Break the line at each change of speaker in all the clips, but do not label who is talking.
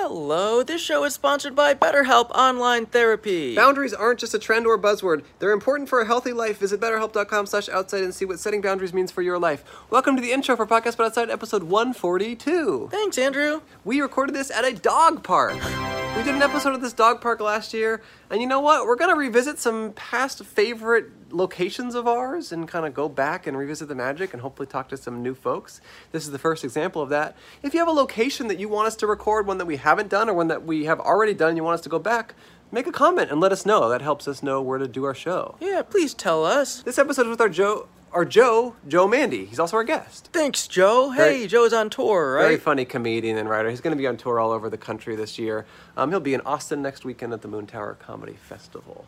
Hello, this show is sponsored by BetterHelp Online Therapy.
Boundaries aren't just a trend or a buzzword. They're important for a healthy life. Visit betterhelp.com slash outside and see what setting boundaries means for your life. Welcome to the intro for Podcast But Outside, episode 142.
Thanks, Andrew.
We recorded this at a dog park. We did an episode of this dog park last year, and you know what? We're going to revisit some past favorite locations of ours and kind of go back and revisit the magic and hopefully talk to some new folks. This is the first example of that. If you have a location that you want us to record, one that we haven't done or one that we have already done, and you want us to go back, make a comment and let us know. That helps us know where to do our show.
Yeah, please tell us.
This episode is with our Joe, our Joe, Joe Mandy. He's also our guest.
Thanks, Joe. Hey,
Very-
Joe's on tour, right?
Very funny comedian and writer. He's going to be on tour all over the country this year. Um, he'll be in Austin next weekend at the Moon Tower Comedy Festival.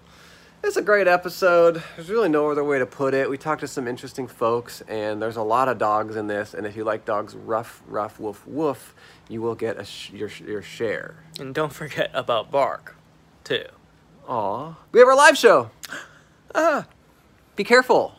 It's a great episode. There's really no other way to put it. We talked to some interesting folks, and there's a lot of dogs in this. And if you like dogs, rough, rough, woof, woof, you will get a sh- your, your share.
And don't forget about Bark, too.
Aw. We have our live show. Ah. Be careful.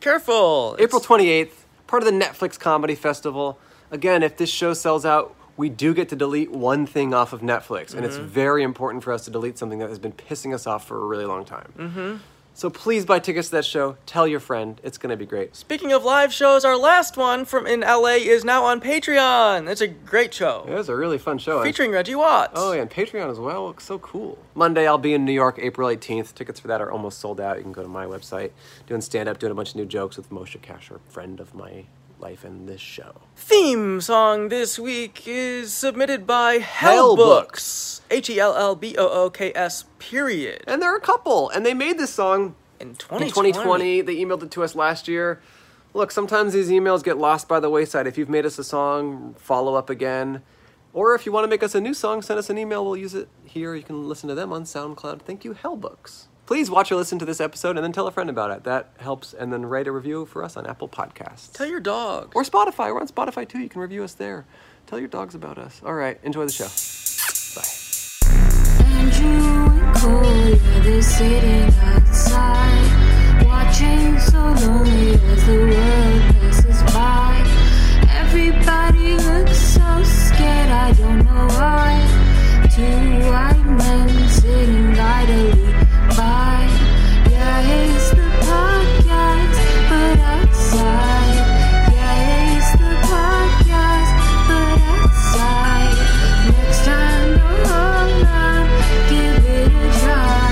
Careful. it's-
April 28th, part of the Netflix Comedy Festival. Again, if this show sells out, we do get to delete one thing off of Netflix, and it's very important for us to delete something that has been pissing us off for a really long time. Mm-hmm. So please buy tickets to that show. Tell your friend; it's going to be great.
Speaking of live shows, our last one from in LA is now on Patreon. It's a great show.
It was a really fun show. and-
Featuring Reggie Watts.
Oh, yeah, and Patreon as well. Looks so cool. Monday, I'll be in New York, April 18th. Tickets for that are almost sold out. You can go to my website. Doing stand up, doing a bunch of new jokes with Moshe Kasher, friend of my life and this show.
Theme song this week is submitted by
Hell
Hell Books. H E L L B O O K S, period.
And there are a couple, and they made this song
In
in
2020.
2020. They emailed it to us last year. Look, sometimes these emails get lost by the wayside. If you've made us a song, follow up again. Or if you want to make us a new song, send us an email. We'll use it here. You can listen to them on SoundCloud. Thank you, Hellbooks. Please watch or listen to this episode and then tell a friend about it. That helps. And then write a review for us on Apple Podcasts
Tell your dog.
or Spotify. We're on Spotify too. You can review us there. Tell your dogs about us. All right, enjoy the show. Bye.
Andrew and Cole, yeah, they're sitting outside, watching so lonely as the world passes by. Everybody looks so scared, I don't know why. Two white men sitting idly by. Yeah, it's the podcast, but outside. Yeah, it's the podcast, but outside. Next time, don't hold on, give it a try.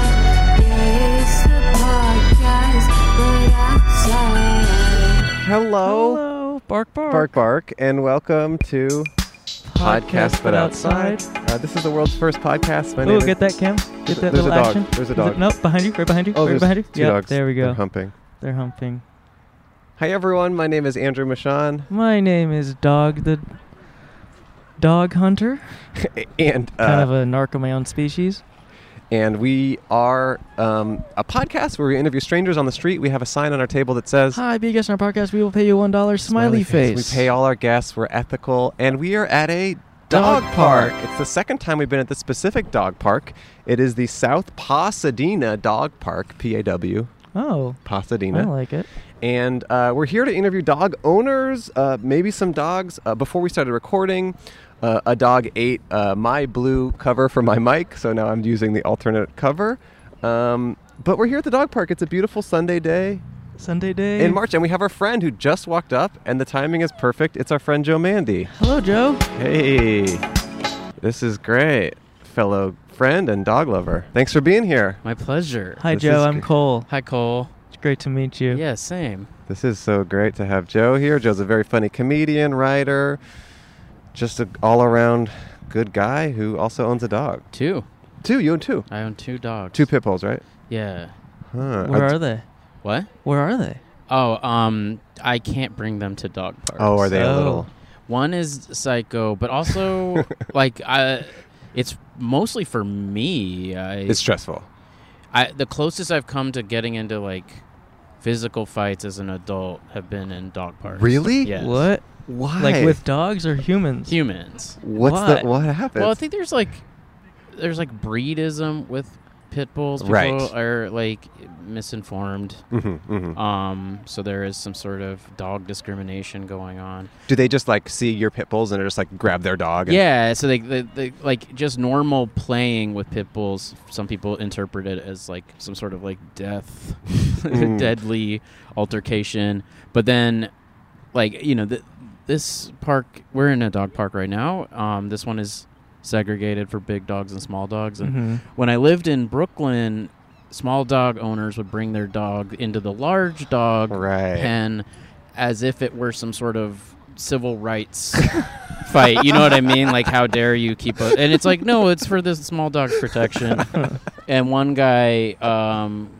Yeah, it's the podcast, but outside.
Hello.
Hello, bark, bark.
Bark Bark, and welcome to Podcast But Outside. Uh, this is the world's first podcast. My name
Oh,
is.
get that, Cam. Get that
there's a
little
dog.
action.
There's a
Is it-
dog.
Nope, behind you, right behind you,
Oh,
right
there's
behind you.
two
Yep,
dogs.
there we go.
They're humping.
They're humping.
Hi everyone. My name is Andrew Michon,
My name is Dog the Dog Hunter.
and uh,
Kind of a narc of my own species.
and we are um, a podcast where we interview strangers on the street. We have a sign on our table that says
Hi, be a guest on our podcast. We will pay you one dollar. Smiley, face.
We pay all our guests. We're ethical, and we are at a
Dog
dog, park.
park.
It's the second time we've been at this specific dog park. It is the South Pasadena Dog Park, P A W.
Oh,
Pasadena.
I like it.
And uh, we're here to interview dog owners, uh, maybe some dogs. Uh, before we started recording, uh, a dog ate uh, my blue cover for my mic, so now I'm using the alternate cover. Um, but we're here at the dog park. It's a beautiful Sunday day
Sunday day
in March, and we have our friend who just walked up, and the timing is perfect. It's our friend Joe Mandy.
Hello, Joe.
Hey, this is great, fellow friend and dog lover. Thanks for being here.
My pleasure.
Hi,
This
Joe.
is
I'm
good.
Cole.
Hi, Cole.
It's great to meet you.
Yeah, same.
This is so great to have Joe here. Joe's a very funny comedian, writer, just an all around good guy who also owns a dog.
Two.
Two, you own two.
I own two dogs.
Two pit bulls, right?
Yeah.
Huh.
Where are they?
What?
Where are they?
Oh, um, I can't bring them to dog parks.
Oh, are they a
Oh.
little?
One is psycho, but also like I, it's mostly for me. I,
It's stressful.
I the closest I've come to getting into like physical fights as an adult have been in dog parks.
Really?
Yes.
What?
Why?
Like with dogs or humans?
Humans.
what's
Why?
the what happened?
Well, I think there's like there's like breedism with pit bulls. People
Right.
are like misinformed.
Mm-hmm, mm-hmm.
Um, so there is some sort of dog discrimination going on.
Do they just like see your pit bulls and are just like grab their dog? And,
Yeah, so they, they, they like just normal playing with pit bulls. Some people interpret it as like some sort of like death, deadly altercation. But then, like you know, th- this park we're in a dog park right now. Um, this one is segregated for big dogs and small dogs. And
Mhm.
when I lived in Brooklyn, small dog owners would bring their dog into the large dog
Right.
pen as if it were some sort of civil rights fight. You know what I mean? Like, how dare you keep a. And it's like, no, it's for this small dog protection. and one guy um,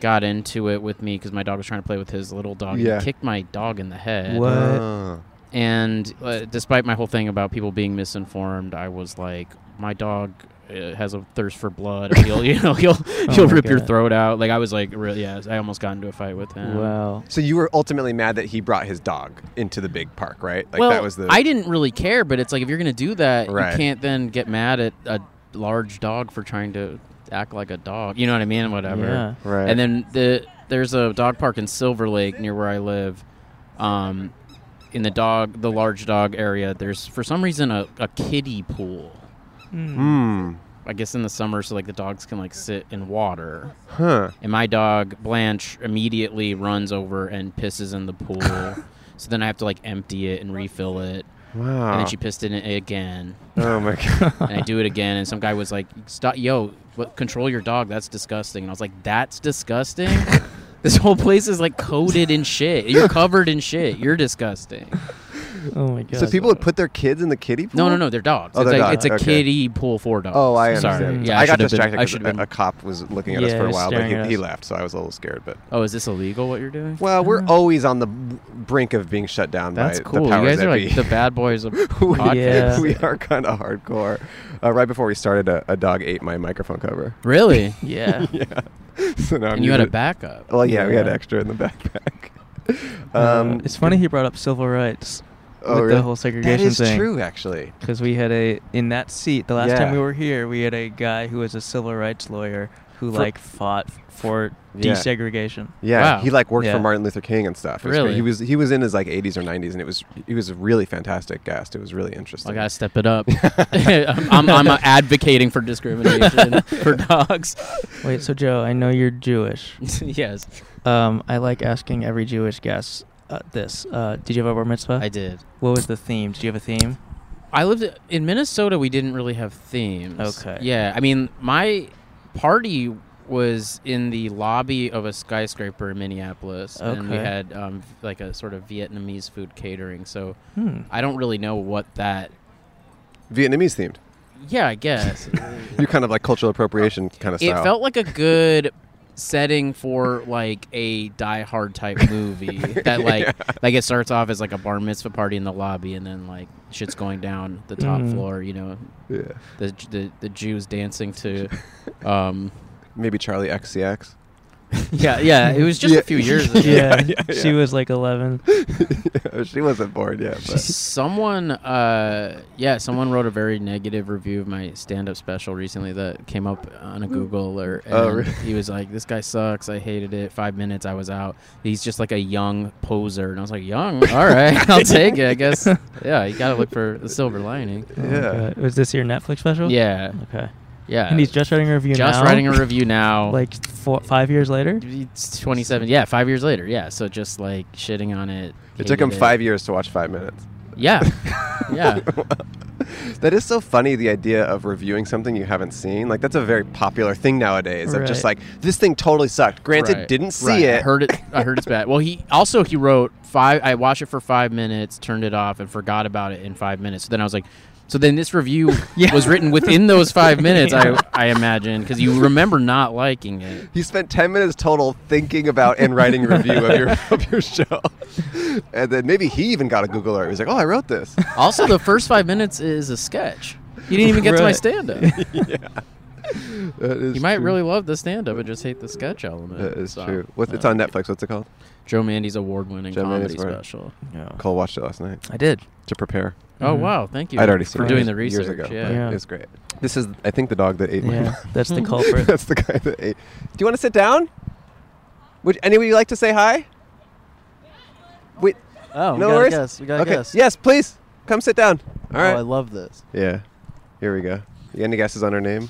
got into it with me because my dog was trying to play with his little dog.
Yeah.
He kicked my dog in the head.
What?
Oh.
And uh, despite my whole thing about people being misinformed, I was like, my dog. uh has a thirst for blood. Or he'll, you know, he'll he'll
Oh my
rip your
God.
throat out. Like I was like, really, yeah. I almost got into a fight with him.
Wow.
So you were ultimately mad that he brought his dog into the big park, right? Like
well,
that was the
I didn't really care, but it's like if you're gonna do that,
Right.
you can't then get mad at a large dog for trying to act like a dog. You know what I mean? Whatever.
Yeah.
right.
And then the there's a dog park in Silver Lake near where I live. Um, in the dog, the large dog area, there's for some reason a, a kiddie pool.
Hmm.
I guess in the summer, so like the dogs can like sit in water.
Huh.
And my dog Blanche immediately runs over and pisses in the pool. so then I have to like empty it and refill it.
Wow.
And then she pissed in it again.
oh my god.
And I do it again. And some guy was like, Stop, yo, what, control your dog. That's disgusting. And I was like, that's disgusting? this whole place is like coated in shit. You're covered in shit. You're disgusting.
Oh my god.
so people would put their kids in the kiddie pool?
No, no, no. They're dogs.
Oh,
it's,
they're
like,
dogs.
it's a
Okay.
kiddie pool for dogs.
Oh, I understand.
Sorry. Yeah,
I, got
should have been-
distracted
I should
because a,
have been.
a cop was looking at us
Yeah,
for
he
a
was
while, but
staring
he,
at
he
us.
left, so I was a little scared. But
oh, is this illegal what you're doing?
well, we're always on the brink of being shut down
Uh-huh. That's
by
cool.
the
You
powers
guys
that
are
be.
like the bad boys of podcast.
Yeah.
we are kind of hardcore. Uh, right before we started, a, a dog ate my microphone cover.
Really?
Yeah.
so now I'm
and you had a
using-
backup.
Well, yeah, we had
Yeah.
extra in the backpack.
Um,
Uh,
Um,
it's funny he brought up civil rights
oh,
with
really?
the whole
That
segregation
is
thing.
true, actually.
Because we had a in that seat the last time
Yeah.
we were here, we had a guy who was a civil rights lawyer who
For-
like fought f- for
Yeah.
desegregation.
Yeah,
Wow.
he like worked for
Yeah.
Martin Luther King and stuff. It was
Really?
great. he was he was in his like 80s or 90s, and it was he was a really fantastic guest. It was really interesting.
I gotta step it up. I'm, I'm, I'm uh, advocating for discrimination for dogs.
Wait, so Joe, I know you're Jewish.
yes,
Um, I like asking every Jewish guest uh, this. Uh, did you have a bar mitzvah?
I did.
what was the theme? Did you have a theme?
I lived in Minnesota. We didn't really have themes.
Okay.
Yeah, I mean, my party was in the lobby of a skyscraper in Minneapolis, and we
Okay.
had um, like a sort of Vietnamese food catering. So
Hmm.
I don't really know what that.
Vietnamese themed.
Yeah, I guess.
You kind of like cultural appropriation kind of
It
style.
felt like a good setting for like a Die Hard type movie that like like it starts off as like a bar mitzvah party in the lobby and then like shit's going down the top
Mm.
floor. You know,
yeah.
the the the Jews dancing to. Um,
Maybe Charlie XCX.
yeah, yeah. It was just
Yeah.
a few years ago.
Yeah,
yeah, yeah.
she was like 11.
she wasn't born yet, but
Someone, uh, yeah, someone wrote a very negative review of my stand-up special recently that came up on
Mm.
a Google alert. And
Oh, really?
He was like, "This guy sucks. I hated it. Five minutes, I was out. He's just like a young poser." And I was like, "Young? All right, I'll take it. I guess. Yeah, you gotta look for the silver lining."
Oh my
yeah.
God. Was this your Netflix special?
Yeah,
Okay.
yeah.
and he's just writing a review
just
now?
writing a review now.
Like four, five years later?
it's 27. Yeah, five years later. Yeah, so just like shitting on it.
It took
hated
him five years to watch five minutes.
Yeah, yeah.
That is so funny. The idea of reviewing something you haven't seen, like that's a very popular thing nowadays. Of just
Right.
like this thing totally sucked. Granted,
Right.
didn't see
Right. I
it.
heard it. I heard it's bad. Well, he also he wrote five. I watched it for five minutes, turned it off, and forgot about it in five minutes. So then I was like, so then this review
Yeah.
was written within those five minutes. I I imagine because you remember not liking it.
He spent ten minutes total thinking about and writing a review of your of your show, and then maybe he even got a Google alert. He was like, "Oh, I wrote this."
Also, the first five minutes is a sketch. You didn't even get to my
Right.
stand up.
That is
You might
true.
really love the stand up and just hate the sketch element.
That is
So,
true. What, it's
uh,
on Netflix. What's it called?
Joe Mandy's award winning
Joe
comedy
Mandy's award.
special.
Yeah.
Cole watched it last night
I did.
to prepare.
Oh
Mhm.
wow, thank you.
Mm-hmm. I'd already seen
for
it
doing the
years
research.
ago,
yeah.
but
Yeah.
It was great. This is, I think, the dog that ate my
Yeah, that's the culprit.
That's the guy that ate. Do you want to sit down? Would anyone you like to say hi? Wait,
Oh, we
No
gotta
worries.
guess. We gotta
okay.
guess.
Yes, please come sit down. All
Oh, I
right.
love this.
yeah. Here we go. You got any guesses on her name?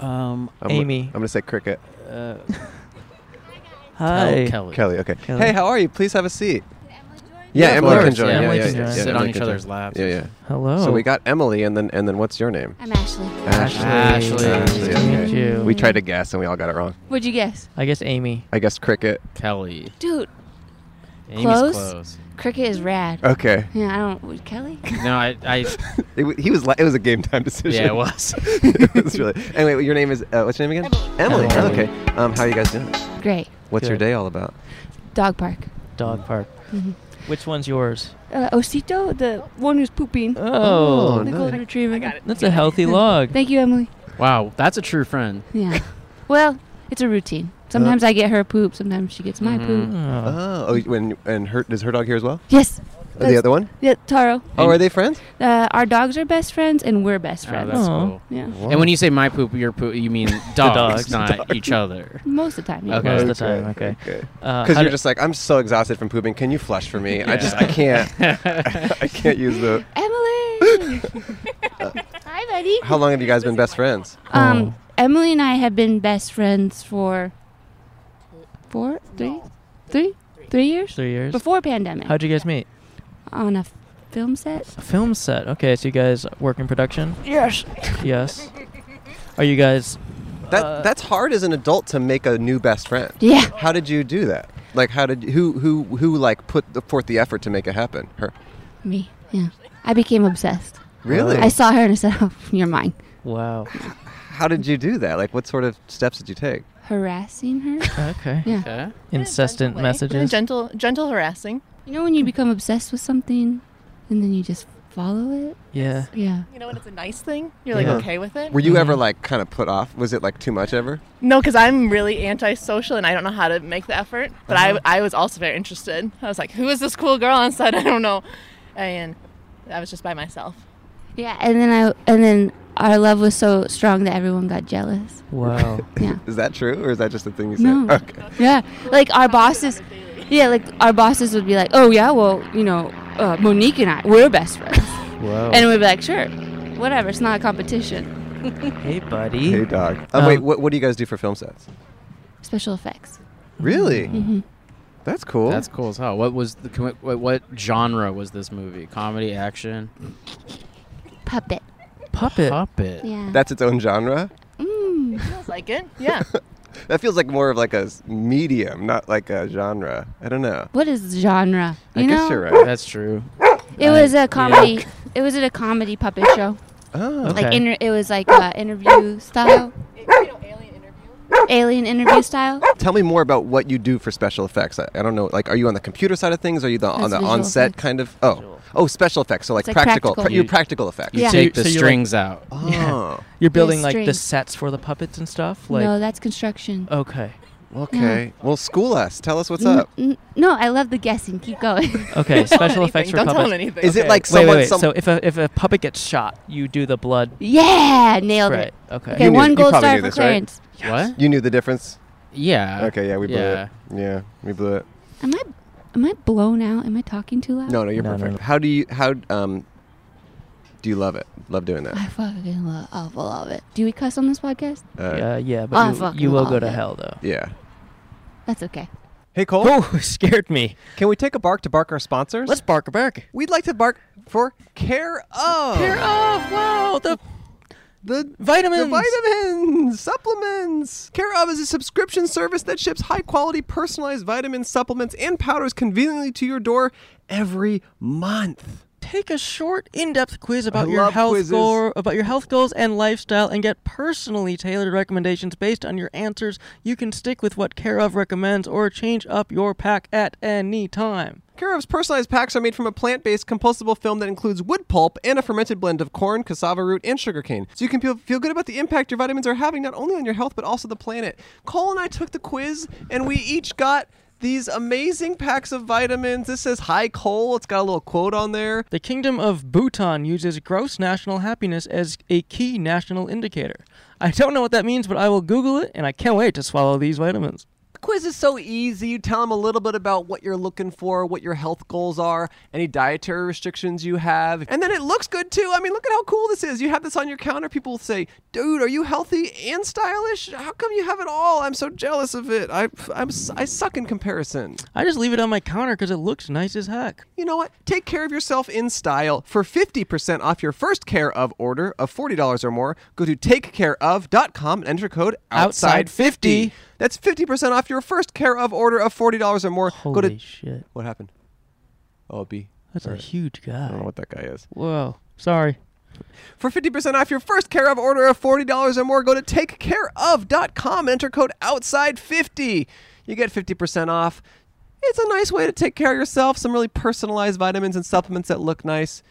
Um,
I'm gonna-
Amy.
I'm gonna say Cricket.
Uh,
Hi.
Oh, Kelly.
Kelly. Okay.
Kelly.
Hey, how are you? Please have a seat.
Emily join?
Yeah,
of
Emily can
course,
join.
yeah,
Yeah,
Emily
yeah,
can
yeah,
join. Oh.
yeah,
Sit
Emily
on each
can
other's
join.
laps.
Yeah, yeah.
Hello.
So we got Emily, and then and then what's your name?
I'm Ashley.
Ashley.
Ashley.
Nice
Ashley,
to meet
okay.
you.
We tried to guess, and we all got it wrong.
What'd you guess?
I guess Amy.
I guess Cricket.
Kelly.
Dude,
Amy's
Close?
close.
Cricket is rad.
Okay.
yeah, I don't. would Kelly?
No, I, I
It, w- he was. la- It was a game time decision.
yeah, it was.
it was really. Anyway, your name is uh, what's your name again? Emily.
Emily.
Okay. Um, how are you guys doing?
Great.
What's your
Good.
day all about?
Dog park.
Dog
Mm-hmm.
park.
Mm-hmm.
Which one's yours?
Uh, Osito, the one who's pooping.
Oh,
the
nice.
golden retriever. I got it.
that's a healthy log.
Thank you, Emily.
Wow, that's a true friend.
Yeah. well, it's a routine. Sometimes
Uh.
I get her poop. Sometimes she gets my poop.
Oh.
Oh, oh, when and her does her dog here as well?
Yes.
Uh,
That's-
the other one?
Yeah, Taro.
Oh, are they friends?
Uh, our dogs are best friends, and we're best
Oh,
friends.
that's
Aw.
cool.
yeah.
And when you say my poop, your poop, you mean
dogs.
dogs, not each other.
Most of the time. Yeah.
Okay.
Most of the time. Okay.
Okay.
Uh,
Because
how
you're
do-
just like I'm so exhausted from pooping. Can you flush for me? I just I
Yeah.
can't. I can't use the.
Emily. Hi, buddy.
How long have you guys been best friends?
Um, Emily and I have been best friends for four, three, three, three years
three years.
before pandemic.
How'd you guys meet?
on a f- film set?
A film set. Okay, so you guys work in production?
Yes.
Yes. Are you guys?
That
Uh,
that's hard as an adult to make a new best friend.
Yeah.
How did you do that? Like how did who who who like put the, forth the effort to make it happen? Her.
Me. Yeah. I became obsessed.
Really?
I saw her and I said, "Oh, you're mine."
Wow.
How did you do that? Like, what sort of steps did you take?
Harassing her.
Okay.
Yeah.
Okay.
Incessant
way.
messages.
Gentle, gentle harassing.
You know when you become obsessed with something, and then you just follow it.
Yeah.
Yeah.
You know when it's a nice thing, you're like
Yeah.
okay with it.
Were
Mm-hmm.
you ever like kind of put off? Was it like too much ever?
No, because I'm really antisocial and I don't know how to make the effort. But
Uh-huh.
I, I was also very interested. I was like, who is this cool girl on set? I don't know. And I was just by myself.
Yeah. And then I and then our love was so strong that everyone got jealous.
Wow.
Yeah.
Is that true, or is that just a thing you
No.
said? Okay.
Yeah, like our bosses. Yeah, like our bosses would be like, "Oh yeah, well, you know, uh, Monique and I, we're best friends,"
Wow.
and we'd be like, "Sure, whatever. It's not a competition."
hey, buddy.
Hey, dog. Um, wait,
Um,
what, what do you guys do for film sets?
Special effects.
Really?
Mm-hmm.
That's cool.
That's cool as hell. What was the commi- what, what genre was this movie? Comedy, action,
Puppet.
Puppet.
puppet.
Yeah.
That's its own genre.
Mm.
Feels like it. Yeah.
That feels like more of like a s- medium, not like a genre. I don't know.
What is genre? You
I
know,
guess you're right.
That's true.
it was a comedy. It was a comedy puppet show.
Oh,
Okay.
Like inter- it was like uh, interview style, alien interview style.
tell me more about what you do for special effects. I, I don't know. Like, are you on the computer side of things? Are you the, on
That's
the
visual
on-set
effects.
kind of? Oh, oh, special effects. So like,
like
practical.
practical.
pra- you
You-
practical effects.
You
Yeah.
take
So
the
you- so you're like-
strings out.
Oh,
You're building like the
strings.
sets for the puppets and stuff. Like.
no, that's construction.
Okay.
okay. Well, school us. Tell us Uh, what's
N-
up.
n- no, I love the guessing. Keep going.
Okay. Special effects for
Don't tell him
puppets.
anything.
Is it
Okay.
like
Wait,
someone?
wait, wait.
some-
So if a if a puppet gets shot, you do the blood.
yeah, nailed
Right.
it.
Okay.
Okay,
You knew-
one
you
gold
probably
star
knew
for
this, right?
Clarence.
What?
you knew the difference.
Yeah.
Okay, yeah, we blew
yeah.
it. Yeah, we blew it.
Am I am I blown out? Am I talking too loud?
No, no, you're
No, no,
perfect.
no.
How do you how um do you love it? Love doing that.
I fucking love, awful love it. Do we cuss on this podcast?
Uh,
Uh, yeah,
I
but you,
fucking
you will go
love
to
it.
hell though.
Yeah.
That's okay.
Hey Cole,
Oh, scared me.
can we take a bark to bark our sponsors?
Let's bark a bark.
We'd like to bark for Care of.
Care of. Wow. The
The
vitamins.
The vitamins, supplements. Care of is a subscription service that ships high quality personalized vitamin supplements and powders conveniently to your door every month.
Take a short, in-depth quiz about
I
your
love
health
quizzes.
goal, about your health goals and lifestyle, and get personally tailored recommendations based on your answers. You can stick with what Care of recommends or change up your pack at any time.
Care's personalized packs are made from a plant based compostable film that includes wood pulp and a fermented blend of corn, cassava root, and sugarcane. So you can feel, feel good about the impact your vitamins are having not only on your health but also the planet. Cole and I took the quiz and we each got these amazing packs of vitamins. This says Hi Cole, it's got a little quote on there.
The Kingdom of Bhutan uses gross national happiness as a key national indicator. I don't know what that means, but I will Google it, and I can't wait to swallow these vitamins.
The quiz is so easy. You tell him a little bit about what you're looking for, what your health goals are, any dietary restrictions you have. And then it looks good too. I mean, look at how cool this is. You have this on your counter. People will say, dude, are you healthy and stylish? How come you have it all? I'm so jealous of it. I, I'm, I suck in comparison.
I just leave it on my counter because it looks nice as heck.
You know what? Take care of yourself in style. For 50% off your first care of order of $40 or more, go to takecareof.com and enter code
Outside50.
outside50. That's 50% off your first care of order of $40 or more. go
Holy
to
shit.
What happened? Oh, a bee.
That's a huge
I don't
guy.
know what that guy is.
Whoa. Sorry.
For 50% off your first care of order of $40 or more, go to takecareof.com and enter code outside50. You get 50% off. It's a nice way to take care of yourself. Some really personalized vitamins and supplements that look nice.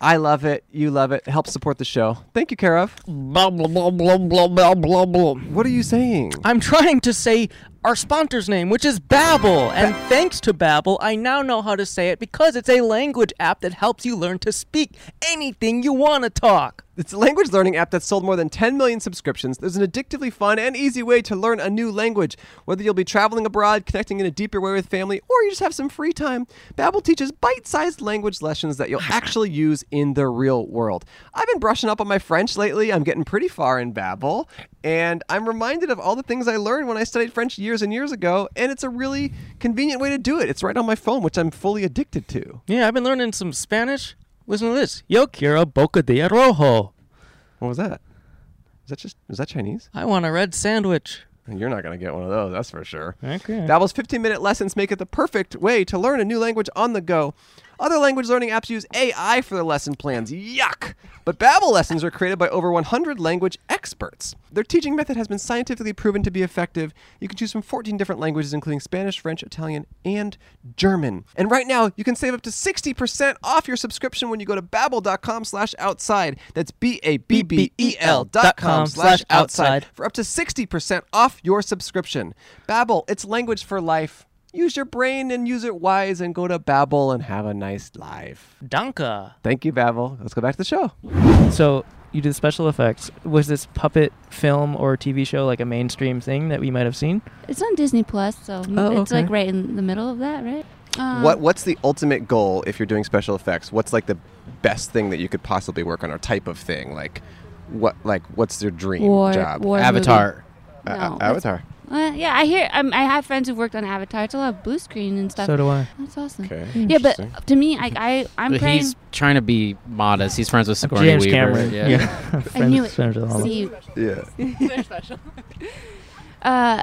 I love it. You love it. Help support the show. Thank you, Care of.
Blah, blah, blah, blah, blah, blah, blah, blah.
What are you saying?
I'm trying to say our sponsor's name, which is Babbel. And thanks to Babbel, I now know how to say it because it's a language app that helps you learn to speak anything you want to talk.
It's a language learning app that's sold more than 10 million subscriptions. There's an addictively fun and easy way to learn a new language. Whether you'll be traveling abroad, connecting in a deeper way with family, or you just have some free time, Babbel teaches bite-sized language lessons that you'll actually use in the real world. I've been brushing up on my French lately. I'm getting pretty far in Babbel, and I'm reminded of all the things I learned when I studied French years and years ago, and it's a really convenient way to do it. It's right on my phone, which I'm fully addicted to.
Yeah, I've been learning some Spanish. Listen to this. Yo quiero boca de rojo.
What was that? Is that just is that Chinese?
I want a red sandwich.
You're not going to get one of those, that's for sure.
Okay.
Babbel's 15-minute lessons make it the perfect way to learn a new language on the go. Other language learning apps use AI for their lesson plans. Yuck! But Babbel lessons are created by over 100 language experts. Their teaching method has been scientifically proven to be effective. You can choose from 14 different languages including Spanish, French, Italian, and German. And right now, you can save up to 60% off your subscription when you go to babbel.com slash outside. That's B-A-B-B-E-L E dot com
E
slash outside for up to 60% off your subscription. Babbel, it's language for life. Use your brain and use it wise and go to Babbel and have a nice life.
Danka.
Thank you, Babbel. Let's go back to the show.
So you did special effects. Was this puppet film or TV show like a mainstream thing that we might have seen?
It's on Disney Plus, so
Oh,
it's
okay.
like right in the middle of that, right? Um,
What What's the ultimate goal if you're doing special effects? What's like the best thing that you could possibly work on, or type of thing? Like, what like what's your dream
War-
job?
war
Avatar.
movie.
A-
No,
a- Avatar.
Uh, yeah, I hear. Um, I have friends who've worked on Avatar. It's a lot of blue screen and stuff.
So do I.
That's awesome.
Okay.
Yeah,
interesting.
but to me, like I, I'm
But
praying.
he's trying to be modest. He's friends with Sigourney
James
Weaver.
Cameron.
Yeah.
I knew it.
Friends with all of us.
See,
yeah.
They're special.
uh, uh,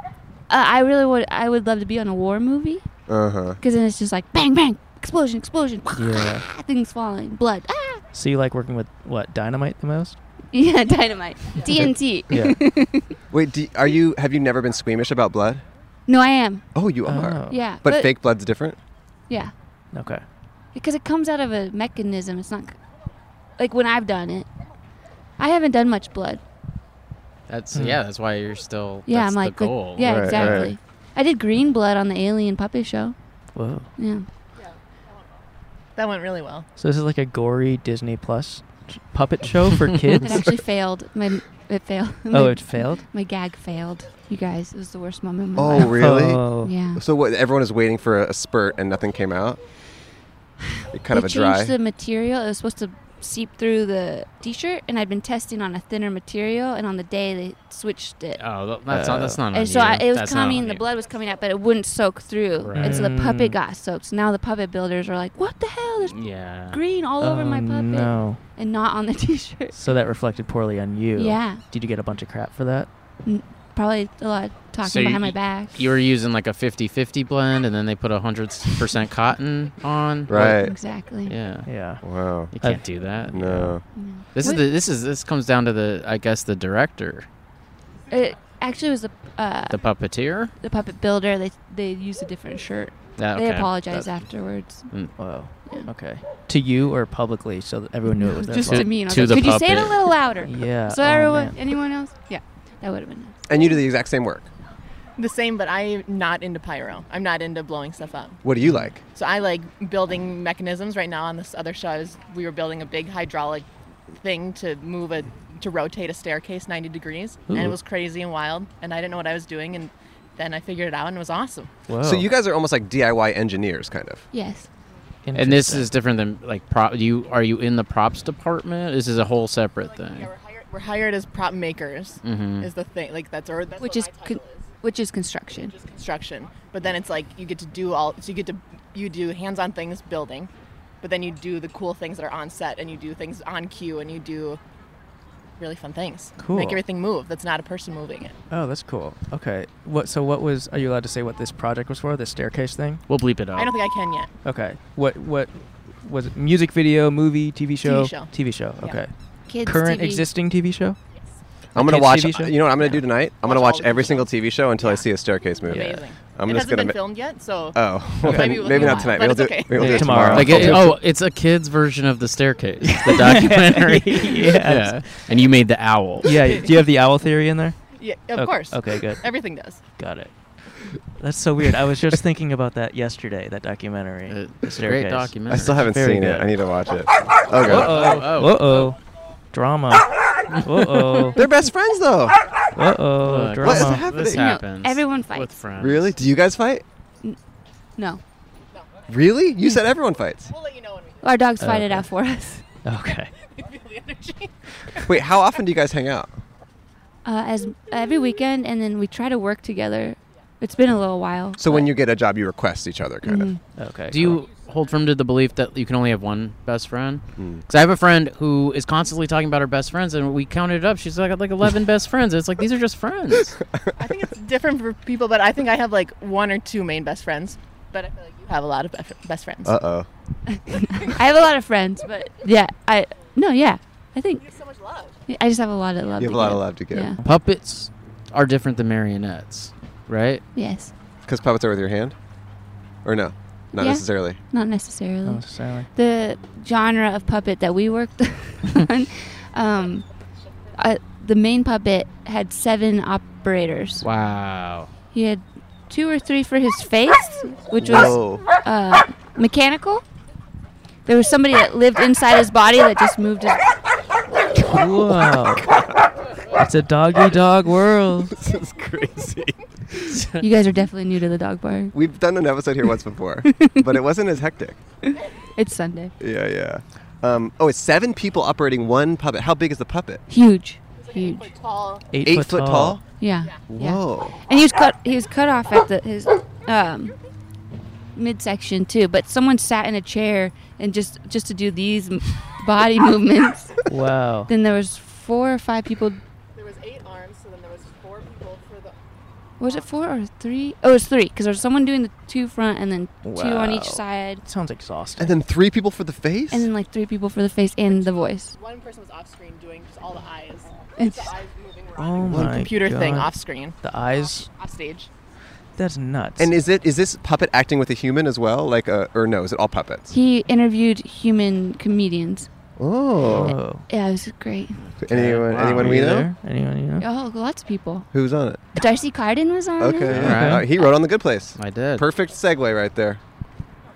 I really would. I would love to be on a war movie
Uh huh.
because then it's just like bang, bang, explosion, explosion,
Yeah.
things falling, blood. Ah!
So you like working with what dynamite the most?
Yeah, dynamite, TNT.
Yeah.
Wait, do, are you have you never been squeamish about blood?
No, I am.
Oh, you are.
Oh,
Yeah,
But, fake blood's different.
Yeah,
Okay.
because it comes out of a mechanism. It's not c- like when I've done it. I haven't done much blood.
That's yeah. That's why you're still.
Yeah, I'm
that's
like,
the
like-
goal.
yeah,
Right,
exactly.
right.
I did green blood on the Alien puppet show.
Whoa.
Yeah.
That went really well.
So this is like a gory Disney Plus puppet show for
It
kids.
actually failed. My it failed.
oh,
My-
it failed.
My gag failed. You guys, it was the worst moment of my
Oh,
life.
really?
Uh,
Oh.
Yeah.
So what? Everyone is waiting for a, a spurt and nothing came out. It kind
they
of a dry.
changed the material. It was supposed to seep through the t-shirt, and I'd been testing on a thinner material, and on the day they switched it.
Oh, th- that's not. That's not. on
and so I,
you.
it was
That's not
coming,
on
the
you.
blood was coming out, but it wouldn't soak through. And so the puppet
Mm.
got soaked. So now the puppet builders are like, what the hell? There's
Yeah.
green all over my
Oh,
puppet
No.
and not on the t-shirt.
So that reflected poorly on you.
Yeah.
Did you get a bunch of crap for that?
probably a lot of talking
So you-
behind my back.
You were using like a 50-50 blend, and then they put a hundred percent cotton on.
Right.
exactly.
Yeah.
Yeah.
Wow.
You
I've-
can't do that.
No.
This is
What-
the, this is this comes down to the I guess the director,
It actually was the uh,
the puppeteer.
the puppet builder. They they used a different shirt.
That,
They apologized afterwards.
Wow.
Yeah.
Okay. To you or publicly, so that everyone knew it was their
Just
fault.
to me. And I
To
was
the
like, Could you say it a
puppet.
little louder?
Yeah.
So
oh,
everyone,
man.
anyone else? Yeah, that would have been. nice.
And you do the exact same work.
The same, but I'm not into pyro. I'm not into blowing stuff up.
What do you like?
So I like building mechanisms. Right now on this other show, I was, we were building a big hydraulic thing to move a to rotate a staircase 90 degrees, and it was crazy and wild. And I didn't know what I was doing, and then I figured it out, and it was awesome.
Whoa.
So you guys are almost like DIY engineers, kind of.
Yes.
And this
Interesting.
is different than like prop. You are you in the props department? This is a whole separate
Yeah,
thing.
we're hired, we're hired as prop makers
Mhm.
is the thing. Like that's or that's
Which
what
is
my
con-
title
which is construction.
is, construction. But then it's like you get to do all. So you get to you do hands-on things building, but then you do the cool things that are on set, and you do things on cue, and you do really fun things.
Cool.
Make everything move. That's not a person moving it.
Oh, that's cool. Okay. What? So what was? Are you allowed to say what this project was for? This staircase thing?
We'll bleep it out.
I don't think I can yet.
Okay. What? What? Was it music video, movie, TV show?
show.
TV show. Okay.
Kids
Current
TV.
existing TV show?
I'm gonna
A kids'
watch.
TV show?
You know what I'm gonna do tonight? I'm gonna
Watch all
watch
the
every
videos.
single TV show until I
Yeah.
see a staircase movie.
Amazing.
I'm
it
just
hasn't
gonna.
been
ma-
filmed yet, so
Oh, well,
Okay.
then
Maybe we'll
maybe
do
not
it.
tonight.
But
We'll
it's
do,
okay.
we'll do
Yeah,
it
tomorrow.
tomorrow.
Like
I'll
it,
do it.
oh, it's a kid's version of the staircase, the documentary.
Yes.
Yeah, and you made the owl.
yeah. Do you have the owl theory in there?
yeah, of
Okay-
course.
Okay. Good.
Everything does.
Got it. oh, That's so weird. I was just thinking about that yesterday. That documentary.
Uh,
The
It's a great
Staircase.
documentary.
I still haven't
Very
seen
good.
it. I need to watch it. Oh god.
Uh oh. Uh oh. Drama. Uh oh.
They're best friends though.
Uh oh.
Look,
Drama.
What is
This
happening?
No,
happens.
everyone fights.
with friends.
Really? Do you guys fight?
No,
Really? You said everyone fights.
We'll let you know when we
our dogs fight it
Okay.
out for us.
Okay.
feel the energy.
Wait, how often do you guys hang out?
Uh, as every weekend, and then we try to work together. It's been a little while.
So when
but-
you get a job, you request each other, kind
Mm-hmm.
of.
Okay.
Do you hold firm to the belief that you can only have one best friend?
Hmm.
Because I have a friend who is constantly talking about her best friends, and we counted it up. She's like got like eleven best friends. It's like these are just friends.
I think it's different for people, but I think I have like one or two main best friends. But I feel like you have a lot of bef- best friends.
Uh oh.
I have a lot of friends, but yeah, I no, yeah, I think
so much love.
I just have a lot of love.
You have
to
a lot
give.
of love to give.
Yeah.
Puppets are different than marionettes, right?
Yes.
Because puppets are with your hand? Or no? Not
Yeah.
necessarily.
Not necessarily.
Not necessarily.
the genre of puppet that we worked on, um, uh, the main puppet had seven operators.
Wow.
He had two or three for his face, which was
Whoa.
uh, mechanical. There was somebody that lived inside his body that just moved his. Oh
Whoa. it's a doggy dog world.
this is crazy.
You guys are definitely new to the dog bar.
We've done an episode here once before, but it wasn't as hectic.
It's Sunday.
Yeah, yeah. Um, oh, it's seven people operating one puppet. How big is the puppet?
Huge, huge.
Tall.
Eight,
Eight, foot, tall?
Yeah. yeah.
Whoa.
And he was cut. He was cut off at the, his um, midsection too. But someone sat in a chair and just just to do these m- body movements.
Wow.
Then there was four or five people.
There was eight arms, so then there was four people for the.
Was it four or three? Oh, it was three because there was someone doing the two front and then two on
Wow.
each side,
Sounds exhausting.
And then three people for the face?
and then like three people for the face and the voice.
One person was off screen doing just all the eyes.
It's-
the eyes moving
oh
around.
my
computer thing
God.
off screen,
The eyes.
off stage.
That's nuts.
And is it is this puppet acting with a human as well? Like a, or no, is it all puppets?
He interviewed human comedians.
Oh.
Whoa.
Yeah, it was great.
Anyone
Wow.
anyone
Were
we
you
know?
there? Anyone you know?
Oh, lots of people.
Who's on it?
Darcy Carden was on. it.
Okay.
Yeah.
All right, He wrote on the good place.
I did.
Perfect segue right there.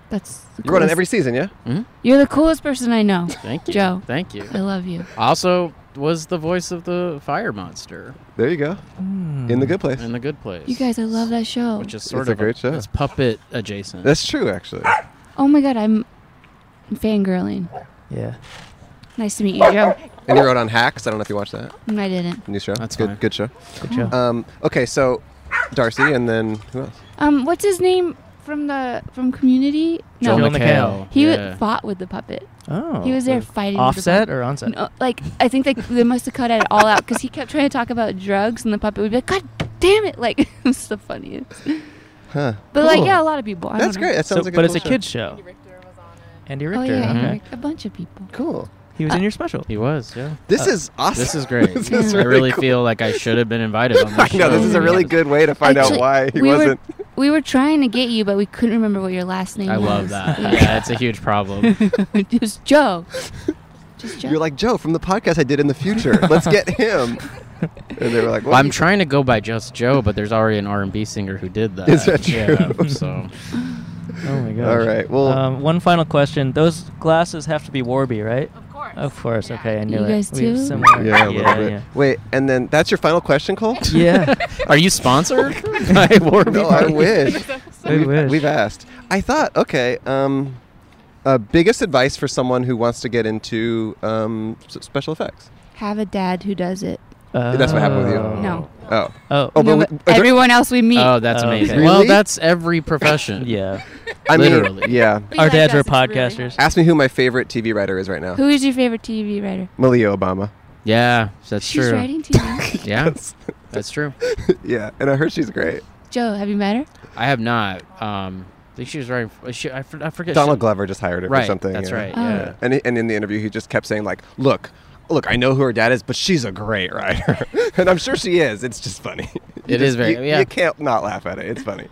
That's. the
You wrote on
coolest-
every season, yeah?
You're the coolest person I know.
Thank you.
Joe.
Thank you.
I love you.
Also was the voice of the fire monster
There you go.
Hmm.
In the good place.
in the good place.
You guys, I love that show.
Which is sort
It's a
of
great show.
It's puppet adjacent.
That's true, actually.
Oh my god, I'm I'm fangirling.
Yeah.
Nice to meet you, Joe.
And he wrote on Hacks. I don't know if you watched that
No, I didn't.
new show.
That's
good.
fine.
Good show.
Good job.
Um, okay, so Darcy, and then who else?
Um, what's his name from the from Community? No,
Joel
Joel
McHale.
McHale.
he w-
Yeah.
fought with the puppet.
oh.
he was there fighting.
Offset
with
or onset?
the puppet. No, like I think they they must have cut it all out because he kept trying to talk about drugs and the puppet would be like, "God damn it! Like it's the funniest.
Huh.
But like
Cool.
yeah, a lot of people. I
That's
don't know.
great. That
So,
sounds like a
but it's
cool
a
show.
kids show.
Richter was on it.
Andy
Oh
Richter.
yeah, Uh,
okay.
Eric, a bunch of people.
Cool.
He was in your special.
He was, yeah.
This
Uh,
is awesome.
This is great.
this is
Yeah.
I
really,
really
cool.
feel like I should have been invited on
I
this
know
show.
this is a really good way to find
Actually,
out why he
we were-
wasn't.
We were trying to get you, but we couldn't remember what your last name
I
was.
love that. yeah, it's a huge problem.
it was Joe. Just Joe.
You're like Joe from the podcast I did in the future. Let's get him. And they were like,
Well,
well,
I'm trying to go by just Joe, but there's already an R&B singer who did that.
Is that true?
Yeah, so
Oh my gosh.
All right. Well,
Um, one final question. Those glasses have to be Warby, right?
Of course.
Of course.
Yeah.
Okay, I knew
You
it.
guys
We have
too?
similar-
yeah, a little
yeah,
bit. Wait, and then that's your final question, Cole?
Yeah. Yeah.
Are you sponsored by Warby?
no, I wish.
I
We've-
wish.
We've asked. I thought, okay, um, uh, biggest advice for someone who wants to get into um, s- special effects.
Have a dad who does it.
That's what happened with you.
Oh.
No.
Oh,
Oh.
Oh,
No,
but
but
we- are there-
everyone else we meet.
Oh, that's
Oh,
amazing.
okay.
Well,
Really?
that's every profession.
Yeah.
I
Literally.
mean, yeah.
Our dads were
Podcasts, it's
podcasters.
Ask me who my favorite TV writer is right now.
Who is your favorite TV writer?
Malia Obama.
Yeah, that's
She's
true.
writing TV.
Yeah, that's true.
yeah, and I heard she's great.
Joe, have you met her?
I have not. Um, I think she was writing. She, I, for- I forget.
Donald
she-
Glover just hired her
Right,
for something.
that's
yeah.
right,
Oh. yeah.
Yeah. And, and in the interview, he just kept saying like, "Look, look, I know who her dad is, but she's a great writer, and I'm sure she is. It's just funny. It is
It is very-
You,
yeah.
you can't not laugh at it. It's funny.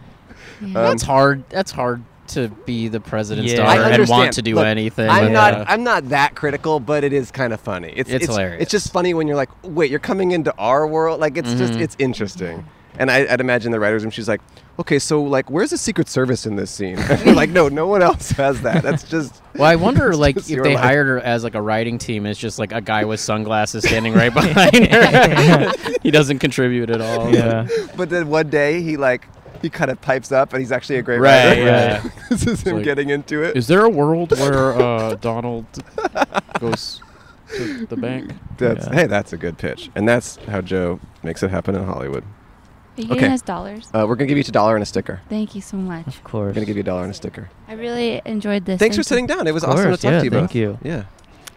Yeah.
Um,
That's hard. That's hard to be the president's
Yeah. I
daughter and want
understand.
to do
Look,
anything.
I'm
with
not.
that.
I'm not that critical, but it is kind of funny. It's,
It's
it's
hilarious.
It's just funny when you're like, wait, you're coming into our world. Like it's just
Mhm.
it's interesting. And I, I'd imagine the writers' room. She's like, okay, so like, where's the Secret Service in this scene? And we're like, no, no one else has that. That's just.
well, I wonder, like, if
just
they
your life.
hired her as like a writing team, it's just like a guy with sunglasses standing right behind her. he doesn't contribute at all.
Yeah.
But then one day he like he kind of pipes up, and he's actually a great
Right,
writer.
yeah.
this is him
like-
getting into it.
Is there a world where uh, Donald goes to the bank?
That's,
yeah.
Hey, that's a good pitch, and that's how Joe makes it happen in Hollywood.
Are you
okay.
giving us dollars?
Uh, we're gonna give you each a dollar and a sticker.
Thank you so much.
Of course.
We're gonna give you a dollar and a sticker.
I really enjoyed this.
Thanks for
Thank you.
sitting down. It was
Of
awesome to
course,
talk
yeah,
to you
thank
both.
you.
Yeah.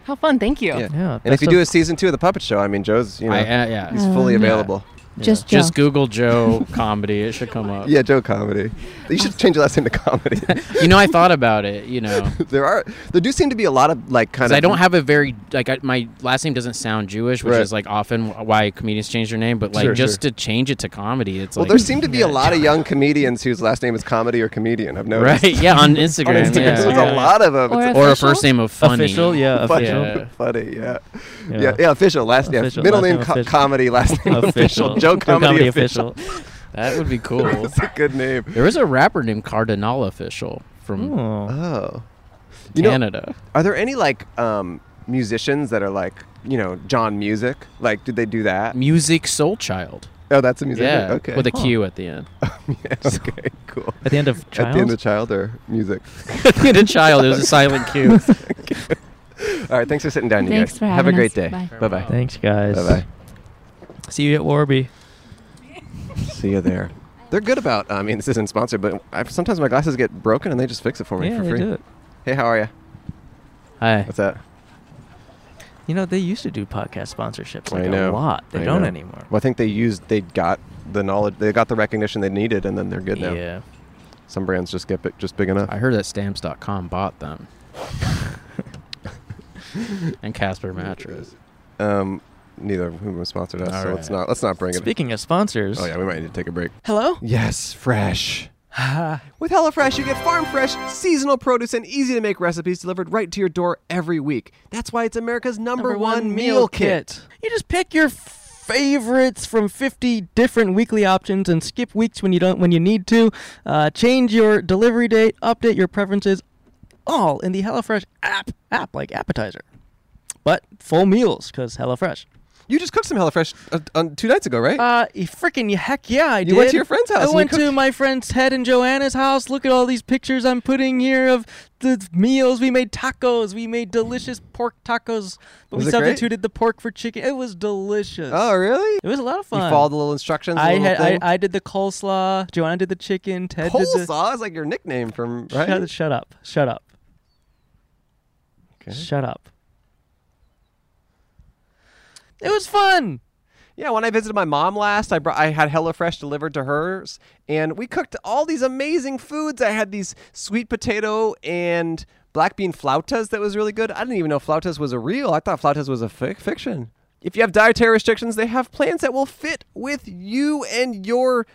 How fun. Thank you.
Yeah.
Yeah.
And if
best
you
of-
do a season two of the Puppet Show, I mean, Joe's you know
I, uh, yeah.
he's
Um,
fully
yeah.
available.
yeah.
Just Joe.
Just Google Joe comedy. It should come up.
Yeah, Joe comedy. You should change your last name to comedy.
You know, I thought about it. You know,
there are there do seem to be a lot of like kind
'Cause
of
I don't have a very like I, my last name doesn't sound Jewish, which
Right.
is like often wh- why comedians change their name. But like
Sure,
just
sure.
to change it to comedy, it's
well,
like
there seem to be a lot of young comedians whose last name is comedy or comedian. I've noticed.
right. Yeah, on Instagram.
On Instagram,
yeah,
there's
yeah.
a lot of them.
Or a
It's
Or a
Official?
first name of funny.
Official, yeah,
funny,
official.
Yeah.
funny, yeah.
Yeah.
yeah, yeah, Official last name,
Official,
middle
last
name,
name
co-
official.
comedy, last name official. Joe comedy, official.
That would be cool.
That's a good name.
there was a rapper named Cardinal Official from
Ooh.
Oh, you know,
Canada.
Are there any like um, musicians that are like you know John Music? Like, did they do that?
Music Soul Child.
Oh, that's a musician.
Yeah.
Okay.
With a
Huh.
Q at the end.
Yeah, okay. Cool.
At the end of Child?
At the end of child or music.
a child. It was a silent Q.
All right. Thanks for sitting down, you
Thanks
guys.
for
Have a
having
great
us.
day.
Bye.
Bye bye.
Thanks, guys.
Bye
See you at Warby.
bye. See you there. They're good about. I mean, this isn't sponsored, but I, sometimes my glasses get broken and they just fix it for me
yeah,
for
they
free.
do it.
Hey, how are you?
Hi.
What's that?
You know, they used to do podcast sponsorships like
I know.
a lot. They
I
don't
know.
anymore.
Well, I think they used. They got the knowledge. They got the recognition they needed, and then they're good now.
Yeah.
Some brands just get bi- just big enough.
I heard that stamps.com bought them. and Casper Mattress.
Um, neither of whom was sponsored us,
All
so let's
right.
not let's not bring it.
Speaking of sponsors,
Oh yeah, we might need to take a break.
Hello?
Yes, fresh. With HelloFresh, you get farm fresh, seasonal produce, and easy to make recipes delivered right to your door every week. That's why it's America's number,
You just pick your favorites from 50 different weekly options and skip weeks when you don't when you need to. Uh, change your delivery date, update your preferences, all in the HelloFresh app. App like appetizer, but full meals because HelloFresh.
You just cooked some HelloFresh uh, on two nights ago, right?
Uh, y- freaking heck yeah, I did.
You went to your friend's house
I
and you
went to
cooked.
my friend's Ted and Joanna's house. Look at all these pictures I'm putting here of the meals. We made tacos. We made delicious pork tacos, but
Was
we
it great?
substituted the pork for chicken. It was delicious.
oh, really?
It was a lot of
You
fun.
followed the little instructions. the
I
little
had I,
thing?
I did the coleslaw. Joanna did the chicken. Ted did the
coleslaw is like your nickname from right.
shut, shut up. Shut up.
Okay.
Shut up.
It was fun.
Yeah, when I visited my mom last, I brought I had HelloFresh delivered to hers, and we cooked all these amazing foods. I had these sweet potato and black bean flautas that was really good. I didn't even know flautas was a real. I thought flautas was a fic- fiction. If you have dietary restrictions, they have plans that will fit with you and your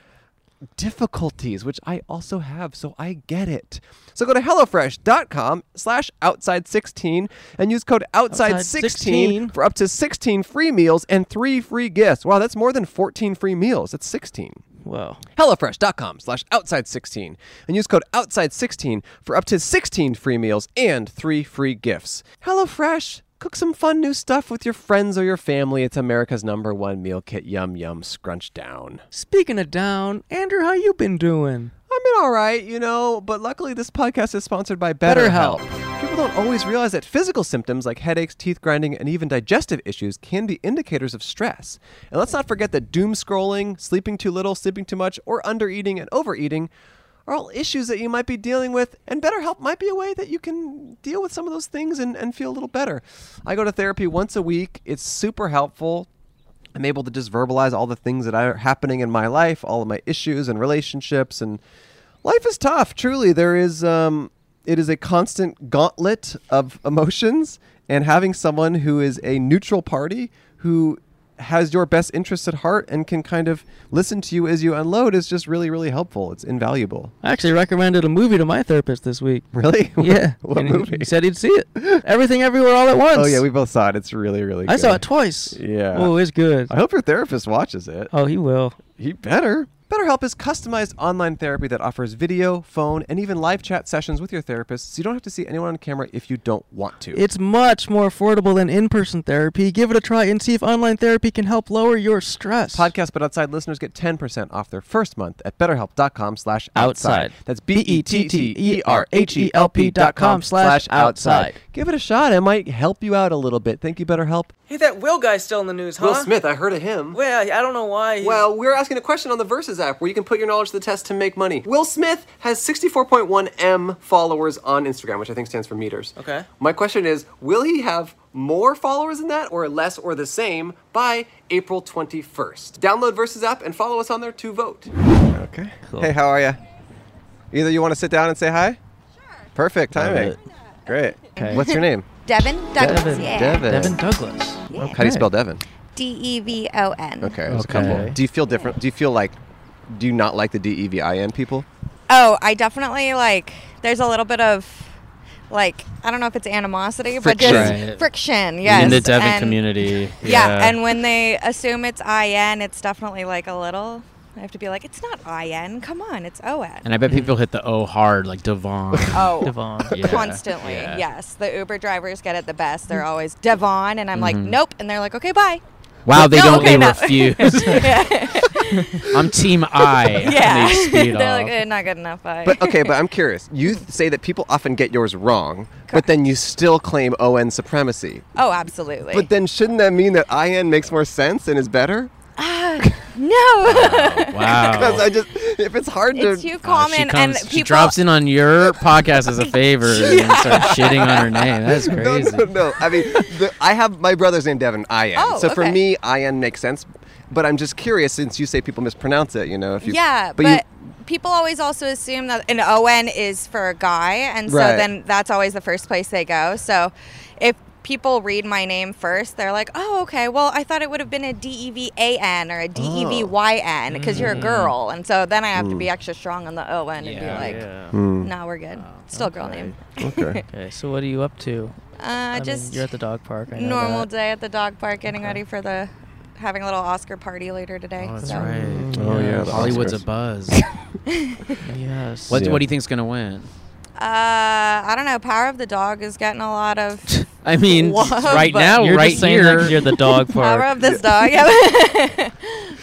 difficulties, which I also have, so I get it. So go to HelloFresh.com slash outside16 and use code outside16
16.
for up to 16 free meals and three free gifts. Wow, that's more than 14 free meals. That's 16.
Whoa.
HelloFresh.com slash outside16 and use code outside16 for up to 16 free meals and three free gifts. HelloFresh, cook some fun new stuff with your friends or your family. It's America's number one meal kit. Yum, yum, scrunch down.
Speaking of down, Andrew, how you been doing?
I've been all right, you know, but luckily this podcast is sponsored by BetterHelp. People don't always realize that physical symptoms like headaches, teeth grinding, and even digestive issues can be indicators of stress. And let's not forget that doom scrolling, sleeping too little, sleeping too much, or undereating and overeating are all issues that you might be dealing with, and BetterHelp might be a way that you can deal with some of those things and, and feel a little better. I go to therapy once a week, it's super helpful. I'm able to just verbalize all the things that are happening in my life, all of my issues and relationships, and life is tough. Truly, there is um, it is a constant gauntlet of emotions, and having someone who is a neutral party who has your best interests at heart and can kind of listen to you as you unload is just really, really helpful. It's invaluable.
I actually recommended a movie to my therapist this week.
Really?
Yeah.
what
and he-
movie?
He said he'd see it. Everything, everywhere, all at once.
Oh yeah, we both saw it. It's really, really.
I
good.
saw it twice.
Yeah.
Oh, it's good.
I hope your therapist watches it.
Oh, he will.
He better. BetterHelp is customized online therapy that offers video, phone, and even live chat sessions with your therapist, so you don't have to see anyone on camera if you don't want to.
It's much more affordable than in-person therapy. Give it a try and see if online therapy can help lower your stress.
Podcast But Outside listeners get 10% off their first month at betterhelp.com slash outside.
Outside.
That's E
B-E-T-T-E-R-H-E-L-P E dot com slash outside.
Give it a shot. It might help you out a little bit. Thank you, BetterHelp.
Hey, that Will guy's still in the news, huh?
Will Smith, I heard of him.
Well, I don't know why. he's-
Well, we're asking a question on the Versus app where you can put your knowledge to the test to make money. Will Smith has 64.1 M followers on Instagram, which I think stands for meters.
Okay.
My question is will he have more followers than that or less or the same by April 21st? Download Versus app and follow us on there to vote.
Okay. Hey, how are you? Either you want to sit down and say hi? Sure. Perfect timing.
it.
Great.
Okay.
What's your name?
Devin Douglas.
Devin.
Yeah.
Devin.
Devin Douglas.
Yeah.
How do you spell Devin?
D E V O N.
Okay, there's
Okay.
a couple. Do you feel different? Do you feel like, do you not like the D E V I N people?
Oh, I definitely like. There's a little bit of. Like I don't know if it's animosity, but just
Friction. Right.
friction. Yes,
in the Devon
and-
community.
Yeah. and when they assume it's I N, it's definitely like a little. I have to be like, it's not I N. Come on, it's O N.
And I bet people hit the O hard, like Devon.
Oh,
Devon.
Yeah,
constantly.
yeah.
Yes, the Uber drivers get it the best. They're always Devon, and I'm like,
Mm-hmm.
nope, and they're like, okay, bye.
Wow, they
No,
don't.
okay,
they
no.
refuse. I'm Team I.
Yeah,
And they speed
they're
off.
like, eh, not good enough. Bye.
But okay, but I'm curious. You th- say that people often get yours wrong, but then you still claim O N supremacy.
oh, absolutely.
But then shouldn't that mean that I N makes more sense and is better?
no,
wow.
Because I just, if it's hard
it's
to.
too
Wow,
common,
she, comes,
and
she
people.
drops in on your podcast as a favor and starts shitting on her name. That's
no,
crazy. Oh,
no, no. I mean, the, I have my brother's name Devin. I N.
Oh,
so for
okay.
me, I N makes sense. But I'm just curious since you say people mispronounce it. You know, if you
yeah, but,
you-
people always also assume that an ON is for a guy, and so
Right.
then that's always the first place they go. So if people read my name first, they're like, oh, okay, well, I thought it would have been a D E V A N or a D E V Y N because you're a girl. And so then I have to be extra strong on the ON and
Yeah.
be like,
Hmm.
no, we're good. Still a girl name.
Okay.
Okay, so what are you up to?
Uh,
I mean,
just
you're at the dog park. I know
normal
that.
day at the dog park getting ready for the having a little Oscar party later today.
Oh, that's
so.
right.
Oh, yeah, the
Hollywood's
Oscars.
a buzz.
Yes.
what,
Yeah.
what do you think's going to win?
Uh, I don't know. Power of the Dog is getting a lot of
I mean,
Love,
right
but-
now,
You're
right
just saying
here.
like you're the dog
power
park.
of this dog. Yeah.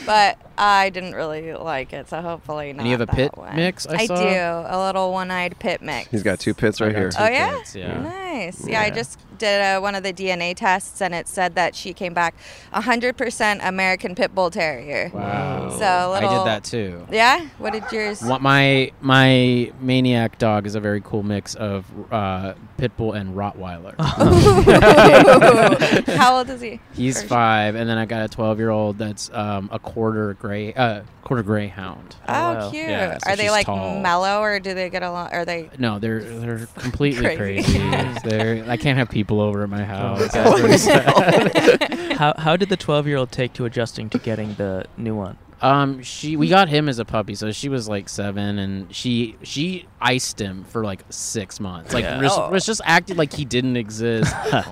but I didn't really like it, so hopefully not.
you have a
that
pit
one.
mix, I
I
saw?
do a little one-eyed pit mix.
He's got two pits
I
right
got
here.
two
Oh yeah?
pits, yeah.
nice. Yeah, I just did uh one of the DNA tests, and it said that she came back 100% American Pit Bull Terrier.
Wow.
So a
I did
little-
that too.
Yeah? What did yours?
What my my maniac dog is a very cool mix of uh, pit bull and Rottweiler.
How old is he?
He's
Or-
five, and then I got a twelve-year-old that's um, a quarter gray, uh, quarter greyhound.
Oh,
wow.
cute.
Yeah, so
are they
she's
like
tall.
mellow, or do they get along? Are they?
No, they're they're completely
Crazy.
crazy. they're, I can't have people over
Oh,
at my house.
God.
That's really sad.
How how did the twelve year old take to adjusting to getting the new one?
um, she we got him as a puppy, so she was like seven, and she she iced him for like six months. Like
Yeah.
just,
Oh.
was just acted like he didn't exist.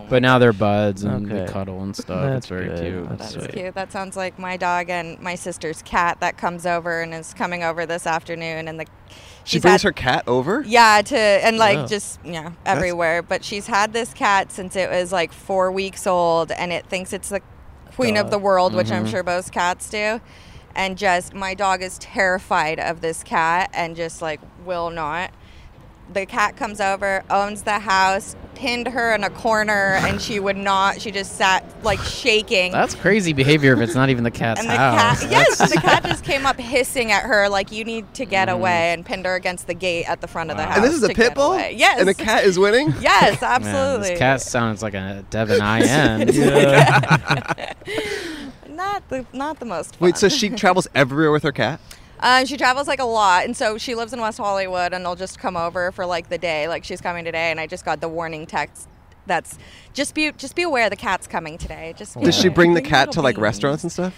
but now they're buds and they
Okay.
cuddle and stuff.
That's
it's very
good.
cute.
That's
That's cute. That sounds like my dog and my sister's cat that comes over and is coming over this afternoon, and the
She
she's
brings
had-
her cat over.
Yeah, to and like
Wow.
just yeah everywhere. But she's had this cat since it was like four weeks old, and it thinks it's the queen
God.
of
Mm-hmm.
the world, which I'm sure most cats do. And just my dog is terrified of this cat, and just like will not. The cat comes over, owns the house, pinned her in a corner, and she would not. She just sat like shaking.
That's crazy behavior if it's not even the cat's
And the
house.
cat, yes, the cat just came up hissing at her like, "You need to get away!" and pinned her against the gate at the front of the
Wow.
house.
Mm. And this is a
to get
pit bull.
away. Yes,
And the cat is winning.
Yes,
Man,
absolutely.
this cat sounds like a Devon IN.
Not the not the most. Fun.
Wait, so she travels everywhere with her cat?
Um, she travels like a lot, and so she lives in West Hollywood, and they'll just come over for like the day. Like she's coming today, and I just got the warning text. That's just be just be aware the cat's coming today. Just be
Does she
aware.
bring the cat to
little
like
baby.
restaurants and stuff?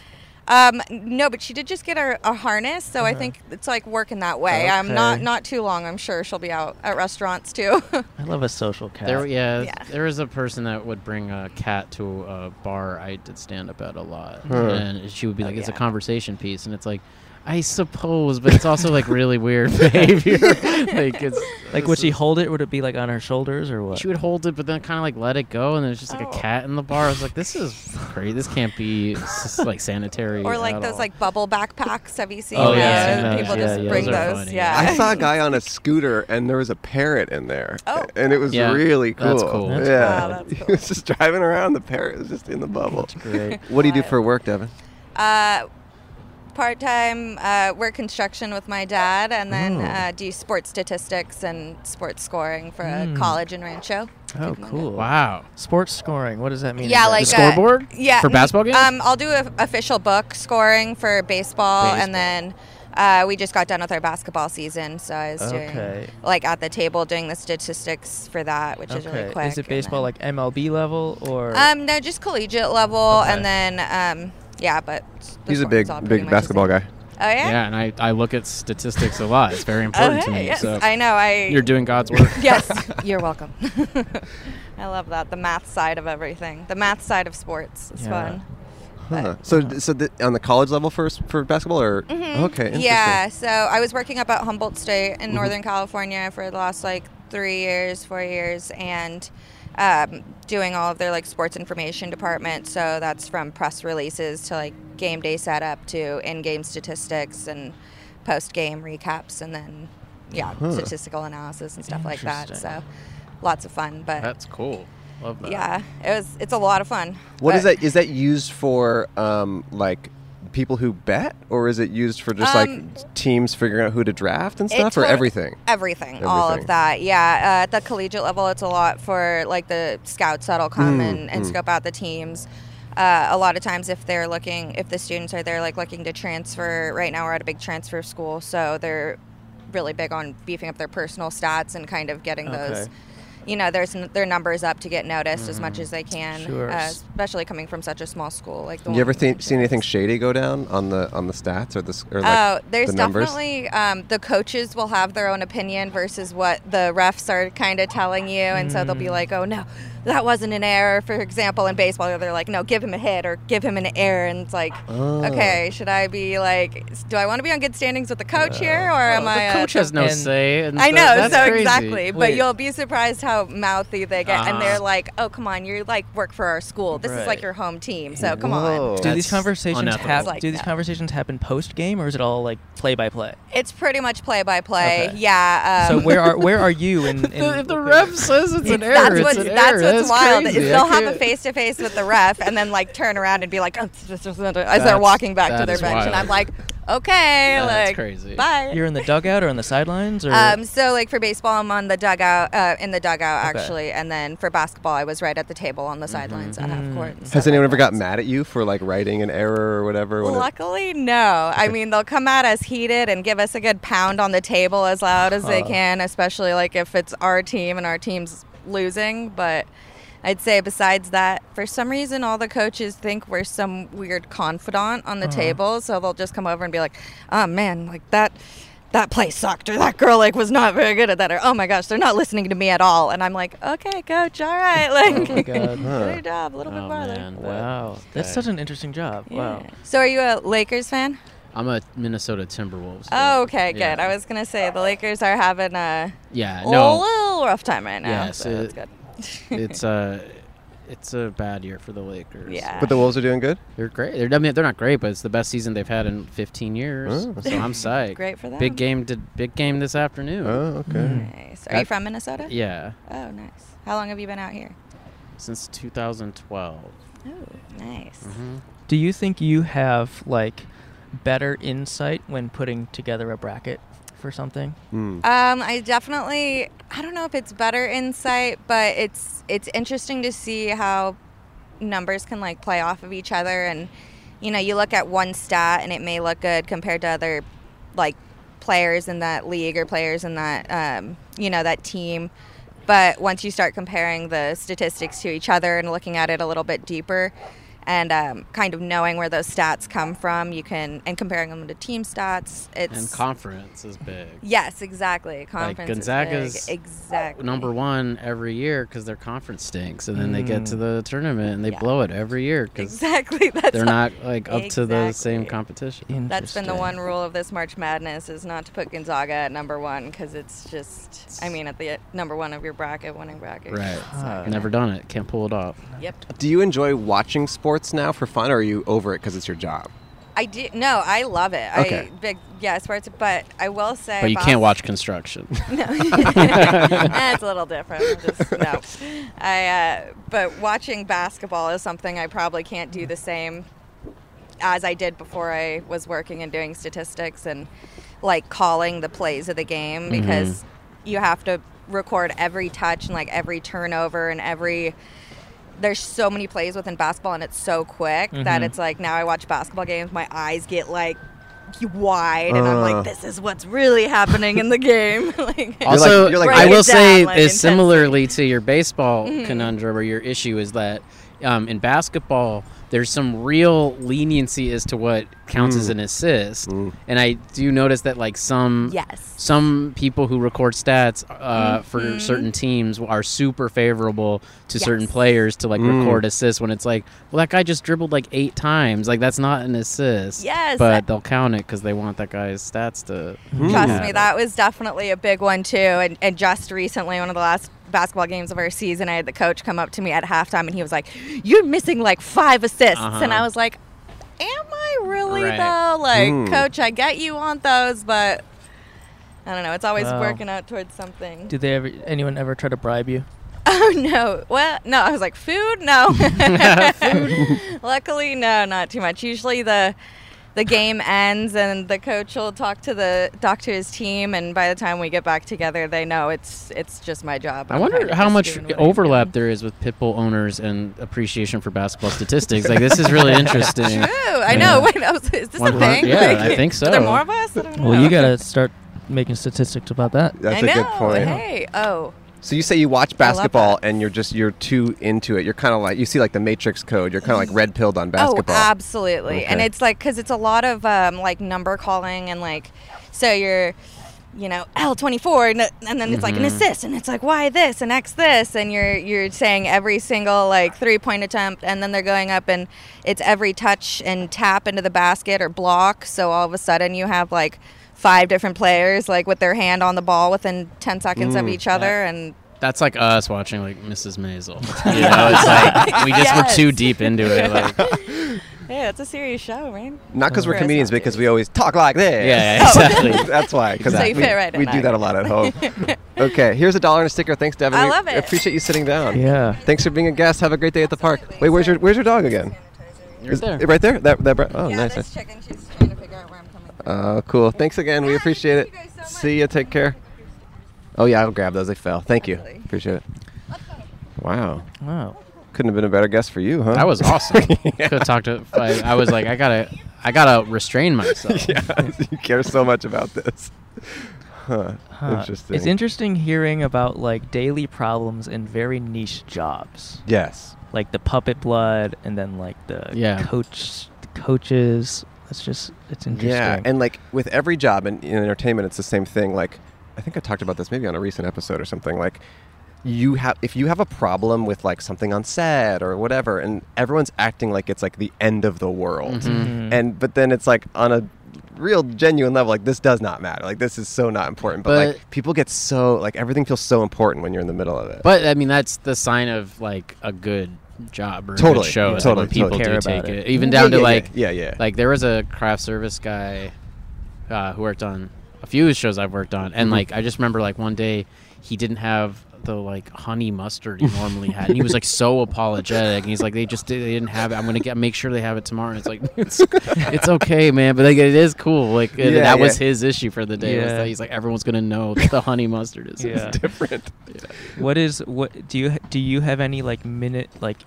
Um, no, but she did just get a, a harness, so
Uh-huh.
I think it's like working that way. I'm not
Okay.
not too long. I'm sure she'll be out at restaurants too.
I love a social cat.
There, yeah,
Yeah.
there was a person that would bring a cat to a bar I did stand up at a lot,
Huh.
and she would be like, "It's
yeah.
a conversation piece," and it's like, "I suppose," but it's also like really weird behavior. like it's
like would she hold it? Would it be like on her shoulders or what?
She would hold it, but then kind of like let it go, and there's just like
Oh.
a cat in the bar. I was like, "This is crazy. This can't be s- like sanitary."
or like
at
those
all."
like bubble backpacks. Have you seen
Oh,
those?
yeah, I've seen those.
People
Yeah,
just
yeah,
bring
those are
those.
funny.
Yeah.
I saw a guy on a scooter, and there was a parrot in there,
Oh.
and it was
Yeah,
really cool.
that's cool. That's
yeah,
cool. Wow, that's
he was just driving around. The parrot was just in the bubble.
Great.
What do you do for work, Devin?
Uh, Part time uh, work construction with my dad, and
Oh.
then uh, do sports statistics and sports scoring for
Hmm.
a college in Rancho.
oh, cool.
Wow.
Sports scoring. What does that mean? exactly?
Yeah, like uh,
The scoreboard?
yeah,
For
n-
basketball games?
Um, I'll do a, official book scoring for baseball,
Baseball.
and then uh, we just got done with our basketball season, so I was
Okay.
doing like at the table doing the statistics for that, which is really quick.
Is it
and
baseball
then-
like MLB level or?
Um, no, just collegiate level, and
Okay.
then um, yeah, but s- the
He's a
sports
big,
all pretty
big
much the
basketball
same.
guy.
Oh yeah.
Yeah, and I, I look at statistics a lot. It's very
Oh,
important to
hey,
me.
yes,
so
I know. I
you're doing God's work.
yes, you're welcome. I love that the math side of everything. The math side of sports is
Yeah.
fun.
Huh. So, so th- on the college level for s- for basketball, or okay, interesting.
Mm-hmm.
Mm-hmm.
Yeah, so I was working up at Humboldt State in Northern California for the last like three years, four years, and um, doing all of their like sports information department. So that's from press releases to like game day setup to in game statistics and post game recaps, and then yeah, statistical analysis and stuff like that. So lots of fun, but
That's cool. Love that.
yeah, it was it's a lot of fun.
What is
but-
that? Is that used for um, like people who bet, or is it used for just
Um,
like teams figuring out who to draft and
It
stuff, or
tot-
everything?
everything, all
Everything.
of that yeah uh, at the collegiate level it's a lot for like the scouts that'll come
Mm,
and, and scope out the teams uh, a lot of times if they're looking if the students are there like looking to transfer right now we're at a big transfer school so they're really big on beefing up their personal stats and kind of getting those
Okay.
you know there's n- their numbers up to get noticed as
Mm,
much as they can
Sure.
uh, especially coming from such a small school like the
You ever
one
think,
mentioned.
seen anything shady go down on the on the stats or the s- or like
Oh, there's
the numbers?
definitely um, the coaches will
Mm.
have their own opinion versus what the refs are kind of telling you, and so they'll be like, "Oh no, that wasn't an error, for example, in baseball, they're like, no, give him a hit or give him an error. And it's like,
Oh.
okay, should I be like, s- do I want to be on good standings with the coach here or am
the
I? a-
coach has no
and-
say. And
uh, I
tha-
know,
that's
so
crazy.
exactly. But
Wait.
you'll be surprised how mouthy they get.
Uh-huh.
And they're like, oh, come on, you like work for our school. This is like
Right.
your home team. So come on.
Whoa.
Do these
That's
conversations
unethical.
happen?
Like
do these
that.
conversations happen post game, or is it all like play by play?
It's pretty much play by play.
Okay.
Yeah.
So
Um,
where are where are you in, in
The, if the ref says it's an error,
that's
it's
what's
an
that's
error.
what's wild.
Crazy.
Is
I
they'll have a
can't-
face to face with the ref and then like turn around and be like, "Oh," as they're
That's-
walking back to
that
their
is
bench, and
wild.
I'm like, okay,
Yeah, that's
like
crazy.
bye.
You're in the dugout or on the sidelines or
Um, so like for baseball, I'm on the dugout, uh, in the dugout
Okay.
actually, and then for basketball, I was right at the table on the
Mm-hmm,
sidelines at half court. and stuff
Has
like
anyone ever
that.
gotten mad at you for like writing an error or whatever? when it-
Luckily, no. I mean, they'll come at us heated and give us a good pound on the table as loud as they can, especially like if it's our team and our team's losing. But I'd say besides that, for some reason, all the coaches think we're some weird confidant on the table, so they'll just come over and be like, "Oh man, like that." That play sucked, or that girl like was not very good at that, or oh my gosh, they're not listening to me at all. And I'm like, okay, coach, all right,
Oh
like,
God.
good your job, a little bit
Oh,
farther.
man, that-
Wow, that's
Okay.
such an interesting job. Wow.
So, are you a Lakers fan?
I'm a Minnesota Timberwolves.
Oh, okay, good.
Yeah.
I was gonna say the Lakers are having a
Yeah,
little,
no,
rough time right now.
Yes,
so that's
it-
good.
it's a it's a bad year for the Lakers.
Yeah.
But the Wolves are doing good.
they're great. They're, I mean, they're not great, but it's the best season they've had in 15 years.
Oh.
So I'm psyched.
Great for them.
Big game. To, big game this afternoon.
Oh, okay.
Nice. Are you
That-
from Minnesota?
Yeah,
Oh, nice. How long have you been out here?
since 2012.
Oh, nice.
Do you think you have like better insight when putting together a bracket for something?
Um, I definitely. I don't know if it's better insight, but it's it's interesting to see how numbers can like play off of each other, and you know, you look at one stat and it may look good compared to other like players in that league or players in that um, you know that team. But once you start comparing the statistics to each other and looking at it a little bit deeper, and um, kind of knowing where those stats come from, you can and comparing them to team stats, it's
And conference is big.
Yes, exactly. Conference is
Gonzaga's
big. exactly
Number one every year because their conference stinks, and then they get to the tournament and they
Yeah.
blow it every year because
Exactly. That's
they're not like up to the same
Exactly.
competition.
That's been the
Interesting.
one rule of this March Madness is not to put Gonzaga at number one because it's just, I mean, at the uh, number one of your bracket, winning bracket.
Right.
It's not gonna-
Never done it. Can't pull it off.
Yep.
Do you enjoy watching sports now for fun, or are you over it because it's your job?
I do. No, I love it.
Okay.
I big yeah sports, but I will say.
But you
Bos-
can't watch construction.
Eh, it's a little different. I'm Just, no, I. Uh, but watching basketball is something I probably can't do the same as I did before I was working and doing statistics and like calling the plays of the game because you have to record every touch and like every turnover and every there's so many plays within basketball and it's so quick that it's like now I watch basketball games my eyes get like wide and I'm
Uh.
like this is what's really happening in the game like
also,
like- you're like-
I
Break
will
it
say
down, like,
is
intensity.
similarly to your baseball
Mm-hmm.
conundrum or your issue is that um, in basketball there's some real leniency as to what counts as an assist, and I do notice that like some
yes
some people who record stats uh, for certain teams are super favorable to certain
Mm-hmm. Yes.
players to like record assists when it's like, well, that guy just dribbled like eight times. Like that's not an assist.
Yes.
But they'll count it because they want that guy's stats to.
Trust
Yeah.
me, that was definitely a big one too. And, and just recently, one of the last basketball games of our season, I had the coach come up to me at halftime and he was like, You're missing like five assists. And I
Uh-huh.
was like, Am I really
Right.
though? Like,
Mm.
coach, I get you want those, but I don't know. It's always
Wow.
working out towards something.
Did they ever anyone ever try to bribe you?
oh, no. Well, no. I was like, Food? No. Luckily, no, not too much. Usually the the game ends and the coach will talk to the talk to his team, and by the time we get back together, they know it's it's just my job.
I
I'm
wonder
kinda
how
just
much
doing what I
overlap
can.
there is with pit bull owners and appreciation for basketball statistics. Like this is really interesting.
Ooh, Oh, I
Yeah.
know. Wait, I was, is this a
100
thing?
yeah, I think
Are there
so.
more of us? I don't know.
Well, you gotta start making statistics about that.
That's
I
a
know.
good point.
Hey, oh,
So you say you watch
I love
basketball
that.
and you're just you're too into it. You're kind of like you see like the Matrix code. You're kind of like red pilled on basketball.
Oh, absolutely. And
Okay.
it's like because it's a lot of um, like number calling and like so you're you know L24 and, and then it's like an
Mm-hmm.
assist and it's like why this and X this and you're you're saying every single like three point attempt and then they're going up and it's every touch and tap into the basket or block so all of a sudden you have like five different players like with their hand on the ball within 10 seconds
Mm.
of each other and
That's like us watching like Mrs. Maisel. You know, it's like we just
Yes.
were too deep into it. Like, yeah,
yeah it's a serious show man
Not because we're
Whereas
comedians,
not
because we always talk like this.
yeah, exactly.
That's why. Because
So you
we,
fit right in,
we do
I
that a lot at home. okay, here's a dollar and a sticker. Thanks, Devin.
I
We
love it.
Appreciate you sitting down.
Yeah.
Thanks for being a guest. Have a great day at the park. Wait, where's your where's your dog again? Is-
there.
Right there. That that. br- Oh,
yeah
nice.
this
nice.
chicken she's trying to figure out where I'm coming from
Oh, cool. Thanks again. We
Yeah,
appreciate it.
thank you guys so much.
See you. Take care. Oh yeah, I'll grab those. They fell. Thank you.
Absolutely.
Appreciate it. Wow.
Wow.
Couldn't have been a better guest for you, huh?
That was awesome. Could have talked to. I, I was like, I gotta, I gotta restrain myself.
yeah. you care so much about this. Huh.
Huh.
Interesting.
It's interesting hearing about like daily problems in very niche jobs,
Yes.
like the puppet blood, and then like the
Yeah.
coach, the coaches. That's just it's interesting.
Yeah, and like with every job in, in entertainment, it's the same thing. Like, I think I talked about this maybe on a recent episode or something. Like, you have if you have a problem with like something on set or whatever, and everyone's acting like it's like the end of the world,
Mm-hmm.
Mhm.
and but then it's like on a real genuine level, like this does not matter. Like this is so not important. But,
But-
like people get so like everything feels so important when you're in the middle of it.
But I mean, that's the sign of like a good job or a
Totally,
good show.
yeah,
is
totally,
when people
totally.
do
Care about
take it.
it.
even down
Yeah,
to
yeah,
like,
yeah, yeah, yeah.
like there was a craft service guy uh, who worked on a few of the shows I've worked on,
Mm-hmm.
and like I just remember like one day he didn't have the like honey mustard he normally had, and he was like so apologetic, and he's like, they just did, they didn't have it. I'm gonna get make sure they have it tomorrow. And it's like it's, it's okay, man, but like it is cool. Like and
Yeah,
that was
yeah.
his issue for the day. Was
Yeah.
that he's like everyone's gonna know that the honey mustard is
Yeah.
different.
what is what do you do you have any like minute like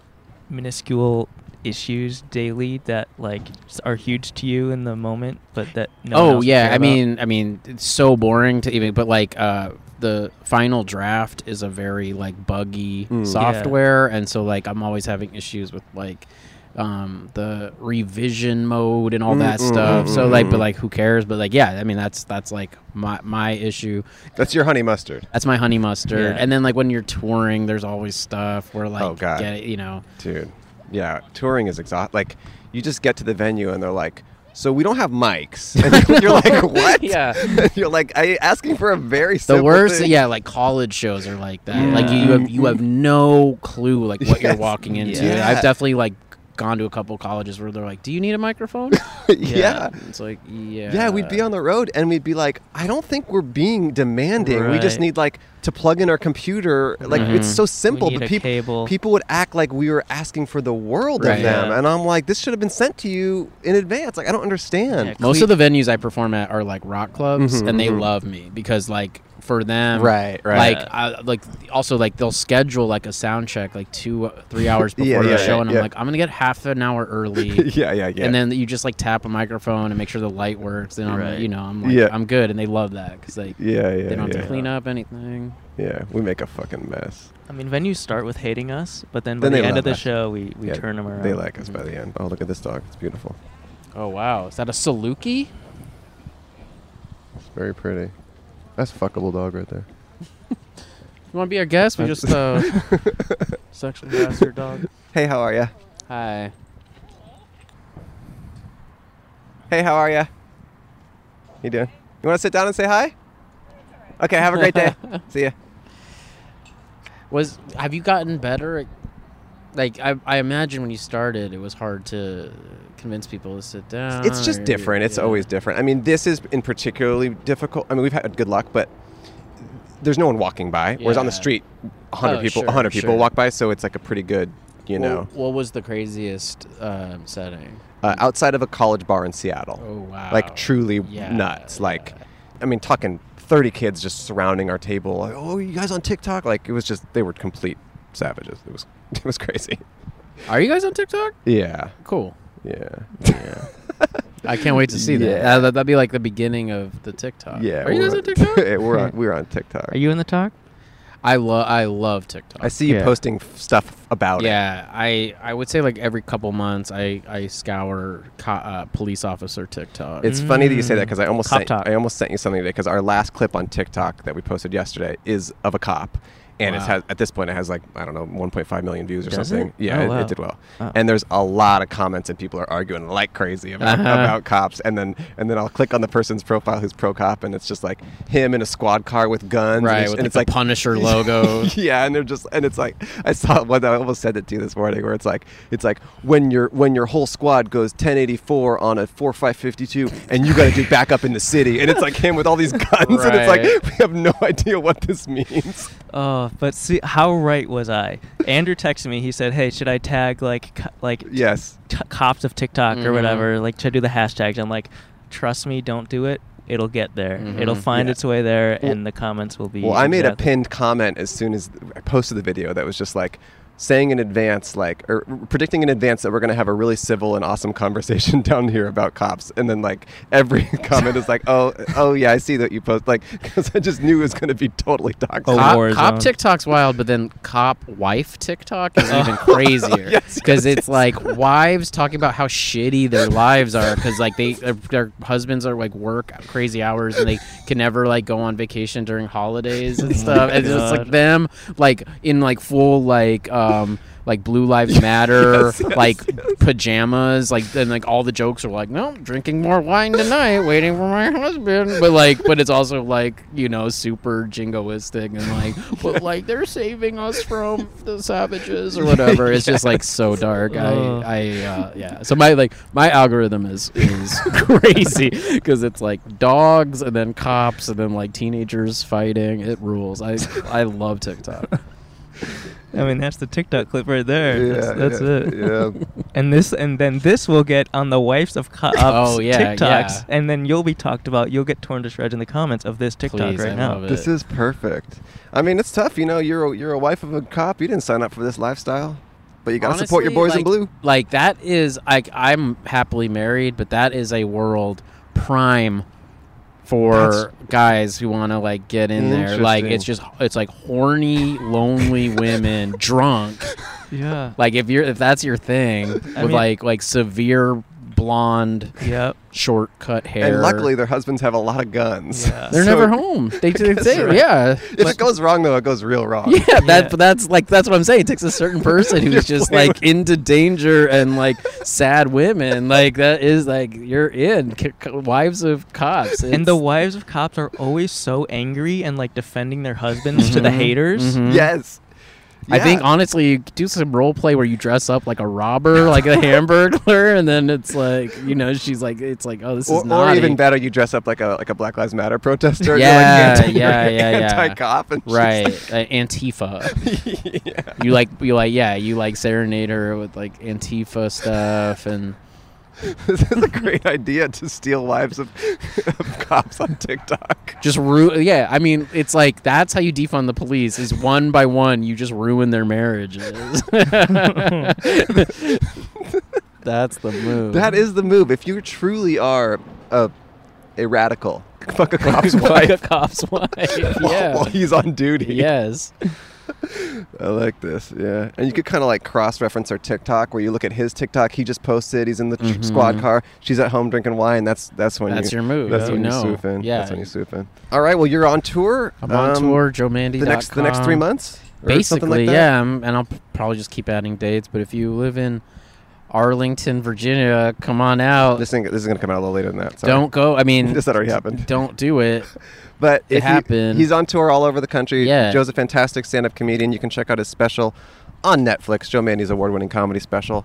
minuscule issues daily that like s- are huge to you in the moment, but that no one
oh
else would
yeah,
care
I
about?
mean, I mean, it's so boring to even. But like, uh, the final draft is a very like buggy
Mm. Yeah.
software, and so like I'm always having issues with like um the revision mode and all that
Mm, mm,
stuff.
mm,
so
mm,
like,
mm.
but like, who cares? But like, yeah, I mean, that's that's like my my issue.
That's your honey mustard.
That's my honey mustard.
Yeah.
And then like when you're touring, there's always stuff where like,
Oh, God.
get- you know,
Dude, yeah, touring is exhausting. Like, you just get to the venue and they're like, "So we don't have mics," and you're, you're like, "What?"
Yeah.
And you're like, "I asking for a very
the
simple
worst
thing."
yeah like college shows are like that
Yeah.
like you, you have you have no clue like what you're
Yes.
walking into
Yeah.
i've definitely like gone to a couple colleges where they're like do you need a microphone
yeah.
it's like yeah
yeah, We'd be on the road and we'd be like, "I don't think we're being demanding. We just
Right.
need like to plug in our computer. Like it's so simple,
need
but
a
people
cable.
people would act like we were asking for the world of
Right.
them,
Yeah.
and I'm like, this should have been sent to you in advance. Like I don't understand.
Yeah,
most of the venues i perform at are like rock clubs
Mhm,
and they
mhm.
love me because like for them
Right, right.
like I, like also like they'll schedule like a sound check like two three hours before
Yeah,
the
yeah,
show
yeah,
and
yeah.
i'm like i'm gonna get half an hour early
yeah, yeah, yeah.
and then you just like tap a microphone and make sure the light works. Then I'm,
Right.
you know, I'm like,
Yeah.
I'm good, and they love that because like
yeah, yeah,
they don't have
yeah.
to clean up anything.
yeah, we make a fucking mess.
I mean, venues start with hating us, but then by
Then
the
they
end
love
of the
us.
show, we, we
Yeah,
turn them around.
They like us by the
Mm-hmm.
end. Oh, look at this dog. It's beautiful.
Oh wow, is that a Saluki?
It's very pretty. That's a fuckable dog right there.
You want to be our guest? We just uh,
sexual harasser dog.
Hey, how are ya?
hi.
Hey, how are ya? You doing? You want to sit down and say hi? Okay, have a great day. See ya.
Was have you gotten better? at- Like I, I imagine when you started, it was hard to convince people to sit down.
It's
or-
just different. It's
yeah.
always different. I mean, this is in particularly difficult. I mean, we've had good luck, but there's no one walking by. Whereas on the
Yeah.
street, 100
Oh,
people,
sure,
100 people
sure.
walk by, so it's like a pretty good, you
Wha-
know,
What, was the craziest um, setting?
uh, outside of a college bar in Seattle.
Oh wow!
like truly
Yeah,
nuts. Like,
yeah.
I mean, talking 30 kids just surrounding our table. Like, oh, you guys on TikTok? Like, it was just they were complete savages. It was it was crazy.
Are you guys on TikTok?
Yeah,
Cool.
yeah,
Yeah. I can't wait to see
Yeah.
that. that. That'd be like the beginning of the TikTok.
yeah.
Are you
we're
guys on TikTok?
we're on we're on TikTok.
Are you in the talk?
I love I love TikTok.
I see you
Yeah.
posting f- stuff about it.
yeah, I I would say like every couple months I I scour co- uh, police officer TikTok.
It's funny that you say that because I almost
Cop
sent,
talk.
I almost sent you something today because our last clip on TikTok that we posted yesterday is of a cop, and it
Wow.
has at this point it has like I don't know 1.5 million views or
Does
something.
it?
Yeah,
Oh,
it,
wow.
it did well.
Oh.
And there's a lot of comments and people are arguing like crazy about,
Uh-huh.
about cops, and then and then I'll click on the person's profile who's pro cop, and it's just like him in a squad car with guns,
Mm-hmm. right
and, it's-
with
and
like
it's
the
like
Punisher logo.
yeah, and they're just and it's like I saw one I almost said it to you this morning where it's like it's like when your when your whole squad goes 1084 on a 4552 and you got to do backup in the city and it's like him with all these guns and it's like
Right.
we have no idea what this means.
Oh, but see, how right was I? Andrew texted me. He said, "Hey, should I tag like co- like
Yes.
t- cops of TikTok or
Mhm.
whatever? Like, should I do the hashtags?" I'm like, "Trust me, don't do it. It'll get there. It'll
Mhm.
find
Yeah.
its way there,
Well-
and the comments will be."
Well, I made a
exactly-
pinned comment as soon as I posted the video that was just like saying in advance like or predicting in advance that we're going to have a really civil and awesome conversation down here about cops and then like every comment is like oh oh yeah i see that you post like because i just knew it was going to be totally toxic
Oh,
Cop,
war
cop
zone.
TikTok's wild, but then cop wife TikTok is even crazier
Oh, Yes,
because it's like wives talking about how shitty their lives are because like they their, their husbands are like work crazy hours and they can never like go on vacation during holidays
Oh
and stuff. And it's just like
God.
them like in like full like um like Blue Lives Matter
Yes, yes,
like pajamas like then like all the jokes are like no drinking more wine tonight waiting for my husband but like but it's also like you know super jingoistic and like but like they're saving us from the savages or whatever it's just like so dark
Oh.
i i uh, yeah so my like my algorithm is is crazy because it's like dogs and then cops and then like teenagers fighting it rules i i love tiktok
I mean, that's the TikTok clip right there. that's that's it.
yeah
And this, and then this will get on the wives of cops
Oh, yeah,
TikToks,
yeah.
and then you'll be talked about. You'll get torn to shreds in the comments of this TikTok
Please,
right
I
now.
love it.
this is perfect i mean it's tough you know you're a, you're a wife of a cop you didn't sign up for this lifestyle but you got to support your
Honestly,
boys in blue
like- Like that is like I'm happily married, but that is a world prime for guys who want to like get in there. Like it's just it's like horny, lonely women drunk.
Yeah.
Like if you're if that's your thing with
mean-
like like severe blonde
Yep.
short cut hair.
and luckily their husbands have a lot of guns
Yeah.
they're
so-
never home. They, they
guess
say,
you're right.
yeah.
if
Like-
it goes wrong though it goes real wrong
Yeah,
Yeah.
that but that's like that's what I'm saying. It takes a certain person
You're
who's just
playing
like into danger and like sad women. Like that is like you're in C- c- wives of cops.
And the
It's-
wives of cops are always so angry and like defending their husbands to the
Mhm,
haters.
mhm.
yes
I think
Yeah.
honestly, you do some role play where you dress up like a robber, like a hamburglar, and then it's like you know she's like it's like oh this
or,
is
or
naughty.
even better, you dress up like a like a Black Lives Matter protester.
Yeah,
you're like
yeah, yeah, yeah.
anti cop and shit.
right uh, Antifa. You like you like yeah you like serenade her with like Antifa stuff and.
this is a great idea to steal lives of, of cops on TikTok.
just ru- yeah i mean it's like that's how you defund the police is one by one you just ruin their marriages that's the move
That is the move. If you truly are a a radical, fuck a cop's
like
wife
a cop's wife
while, while
yeah
he's on duty.
yes
Um, I like this. Yeah, and you could kind of like cross reference our TikTok where you look at his TikTok. He just posted. He's in the tr- squad car. She's at home drinking wine. That's that's when
Mm-hmm. That's
you,
your move.
That's
You
when
know.
you swoop in.
Yeah.
That's when you swoop in. All right. Well, you're on tour.
i'm on
Um,
tour joe mandy
the next the next three months or
basically
something like that?
yeah um, and i'll p- probably just keep adding dates but if you live in arlington virginia come on out
this thing this is gonna come out a little later than that sorry.
don't go i mean
this that already happened
don't do it
but
it
if you-
happened.
he's on tour all over the country
Yeah.
joe's a fantastic stand-up comedian you can check out his special on netflix joe mandy's award-winning comedy special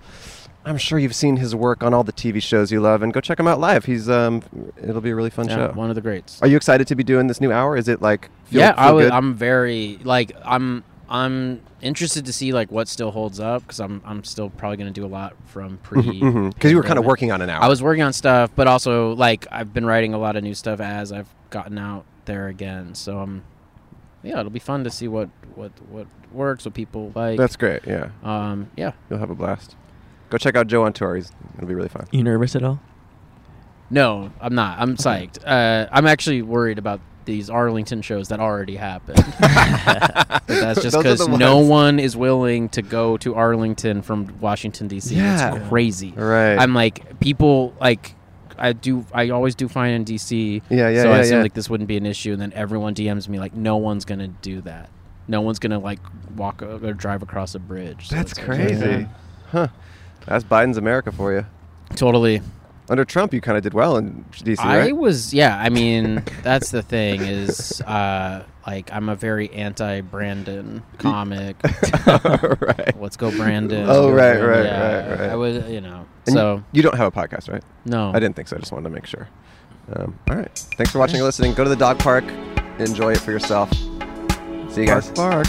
i'm sure you've seen his work on all the tv shows you love and go check him out live he's um it'll be a really fun
Yeah,
show
one of the greats
are you excited to be doing this new hour is it like feel-
yeah, I
feel
would,
good?
I'm very like I'm I'm interested to see like what still holds up because I'm I'm still probably gonna do a lot from pre because
Mhm, 'cause you were kind of working on an hour
I was working on stuff, but also like I've been writing a lot of new stuff as I've gotten out there again. So um, yeah, it'll be fun to see what what what works, what people like.
that's great yeah
um, yeah.
you'll have a blast go check out joe on tour he's, it'll be really fun
You nervous at all?
No, I'm not. I'm psyched. Uh, I'm actually worried about these Arlington shows that already happened. But that's just
Those are the
because no
ones.
one is willing to go to Arlington from Washington D.C.
Yeah.
It's crazy.
Right.
I'm like people like. I do. I always do fine in DC.
Yeah, yeah,
So
yeah,
I seem
yeah.
like this wouldn't be an issue, and then everyone DMs me like, "No one's gonna do that. No one's gonna like walk o- or drive across a bridge." So
That's
it's like, yeah.
crazy. Huh. That's Biden's America for you.
Totally.
Under Trump, you kind of did well in DC,
I
right?
was, yeah. I mean, that's the thing is, uh, like, I'm a very anti Brandon comic.
right.
Let's go, Brandon.
Oh,
Go,
right,
Brandon.
right,
Yeah,
right, right.
I was, you know,
And
so
you, you don't have a podcast, right?
no,
I didn't think so. I just wanted to make sure. Um, all right. Thanks for watching and listening. Go to the dog park. Enjoy it for yourself. See you guys.
Bark.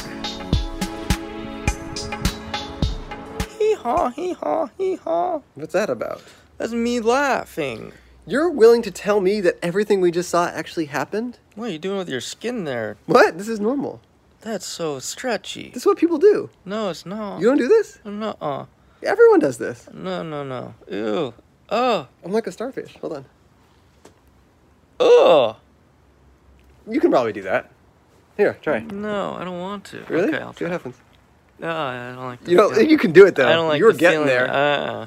Hee haw, hee haw, hee haw.
What's that about?
That's me laughing.
You're willing to tell me that everything we just saw actually happened?
What are you doing with your skin there?
What? This is normal.
That's so stretchy.
This is what people do.
No, it's not.
You don't do this?
No, uh,
Everyone does this.
no, no, no. Ew. Oh,
I'm like a starfish. Hold on.
oh.
You can probably do that. Here, try.
No, I don't want to.
Really?
Mm-hmm. Okay, I'll
See what happens.
No, I don't like. The
You don't,
feeling.
you can do it though.
I don't like.
you were
the
getting
feeling.
there.
Uh,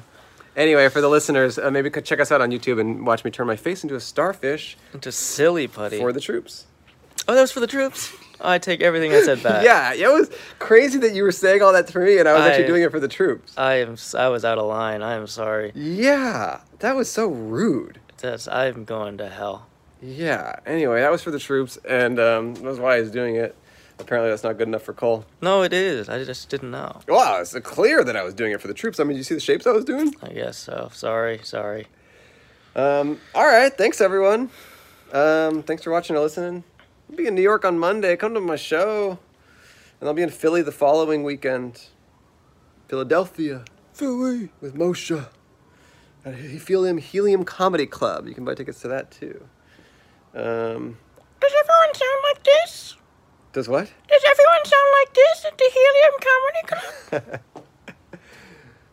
Anyway, for the listeners, uh, maybe c- check us out on YouTube and watch me turn my face into a starfish
into Uh, silly putty.
for the troops.
oh, that was for the troops. I take everything I said back.
yeah, it was crazy that you were saying all that to me, and I was actually
I-
doing it for the troops.
I am. s- I was out of line. I am sorry.
yeah, that was so rude.
That's. I'm going to hell.
Yeah. Anyway, that was for the troops, and um, that was why I was doing it. Apparently, that's not good enough for Cole.
No, it is. I just didn't know.
Wow, it's clear that I was doing it for the troops. I mean, did you see the shapes I was doing?
I guess so. Sorry. Sorry.
Um, all right, thanks everyone. Um, thanks for watching and listening. I'll be in New York on Monday. Come to my show, and I'll be in Philly the following weekend. Philadelphia, Philly with Moshe at Helium Helium Comedy Club. You can buy tickets to that too. Um,
Does everyone sound like this?
does what?
Does everyone sound like this at the Helium Comedy Club?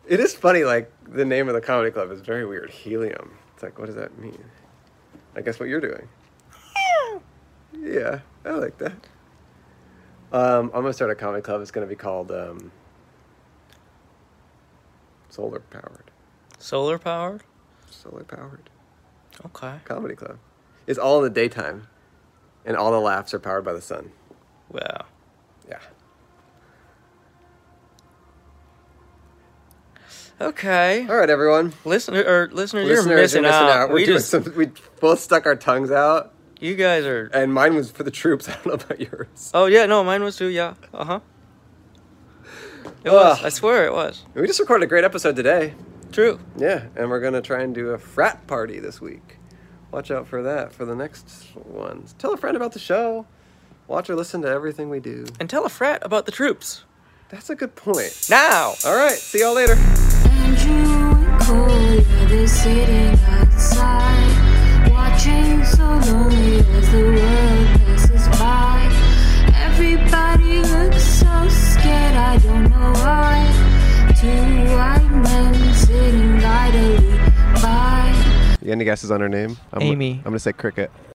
It is funny. Like the name of the comedy club is very weird. Helium. It's like, what does that mean? I guess what you're doing. Yeah, I like that. Um, I'm gonna start a comedy club. It's gonna be called um, Solar Powered.
Solar powered.
Solar Powered
Okay.
Comedy Club. It's all in the daytime, and all the laughs are powered by the sun.
Wow.
Yeah.
Okay.
All right, everyone.
Listener or listeners,
Listeners,
you're missing, out.
We're
we
doing
just
some, we both stuck our tongues out,
you guys are.
and mine was for the troops. I don't know about yours.
Oh yeah, no, mine was too. Yeah. Uh huh. It was.
Ugh.
I swear it was.
We just recorded a great episode today.
True.
Yeah, and we're gonna try and do a frat party this week. Watch out for that for the next ones. Tell a friend about the show. Watch or listen to everything we do.
And tell a frat about the troops
That's a good point.
now.
All right, see y'all later.
And you cold, yeah, they're sitting outside, watching so lonely as the world passes by. Everybody looks so scared, I don't know why. Two white men sitting idly by.
You got any guesses on her name? I'm
Amy.
I'm gonna say cricket.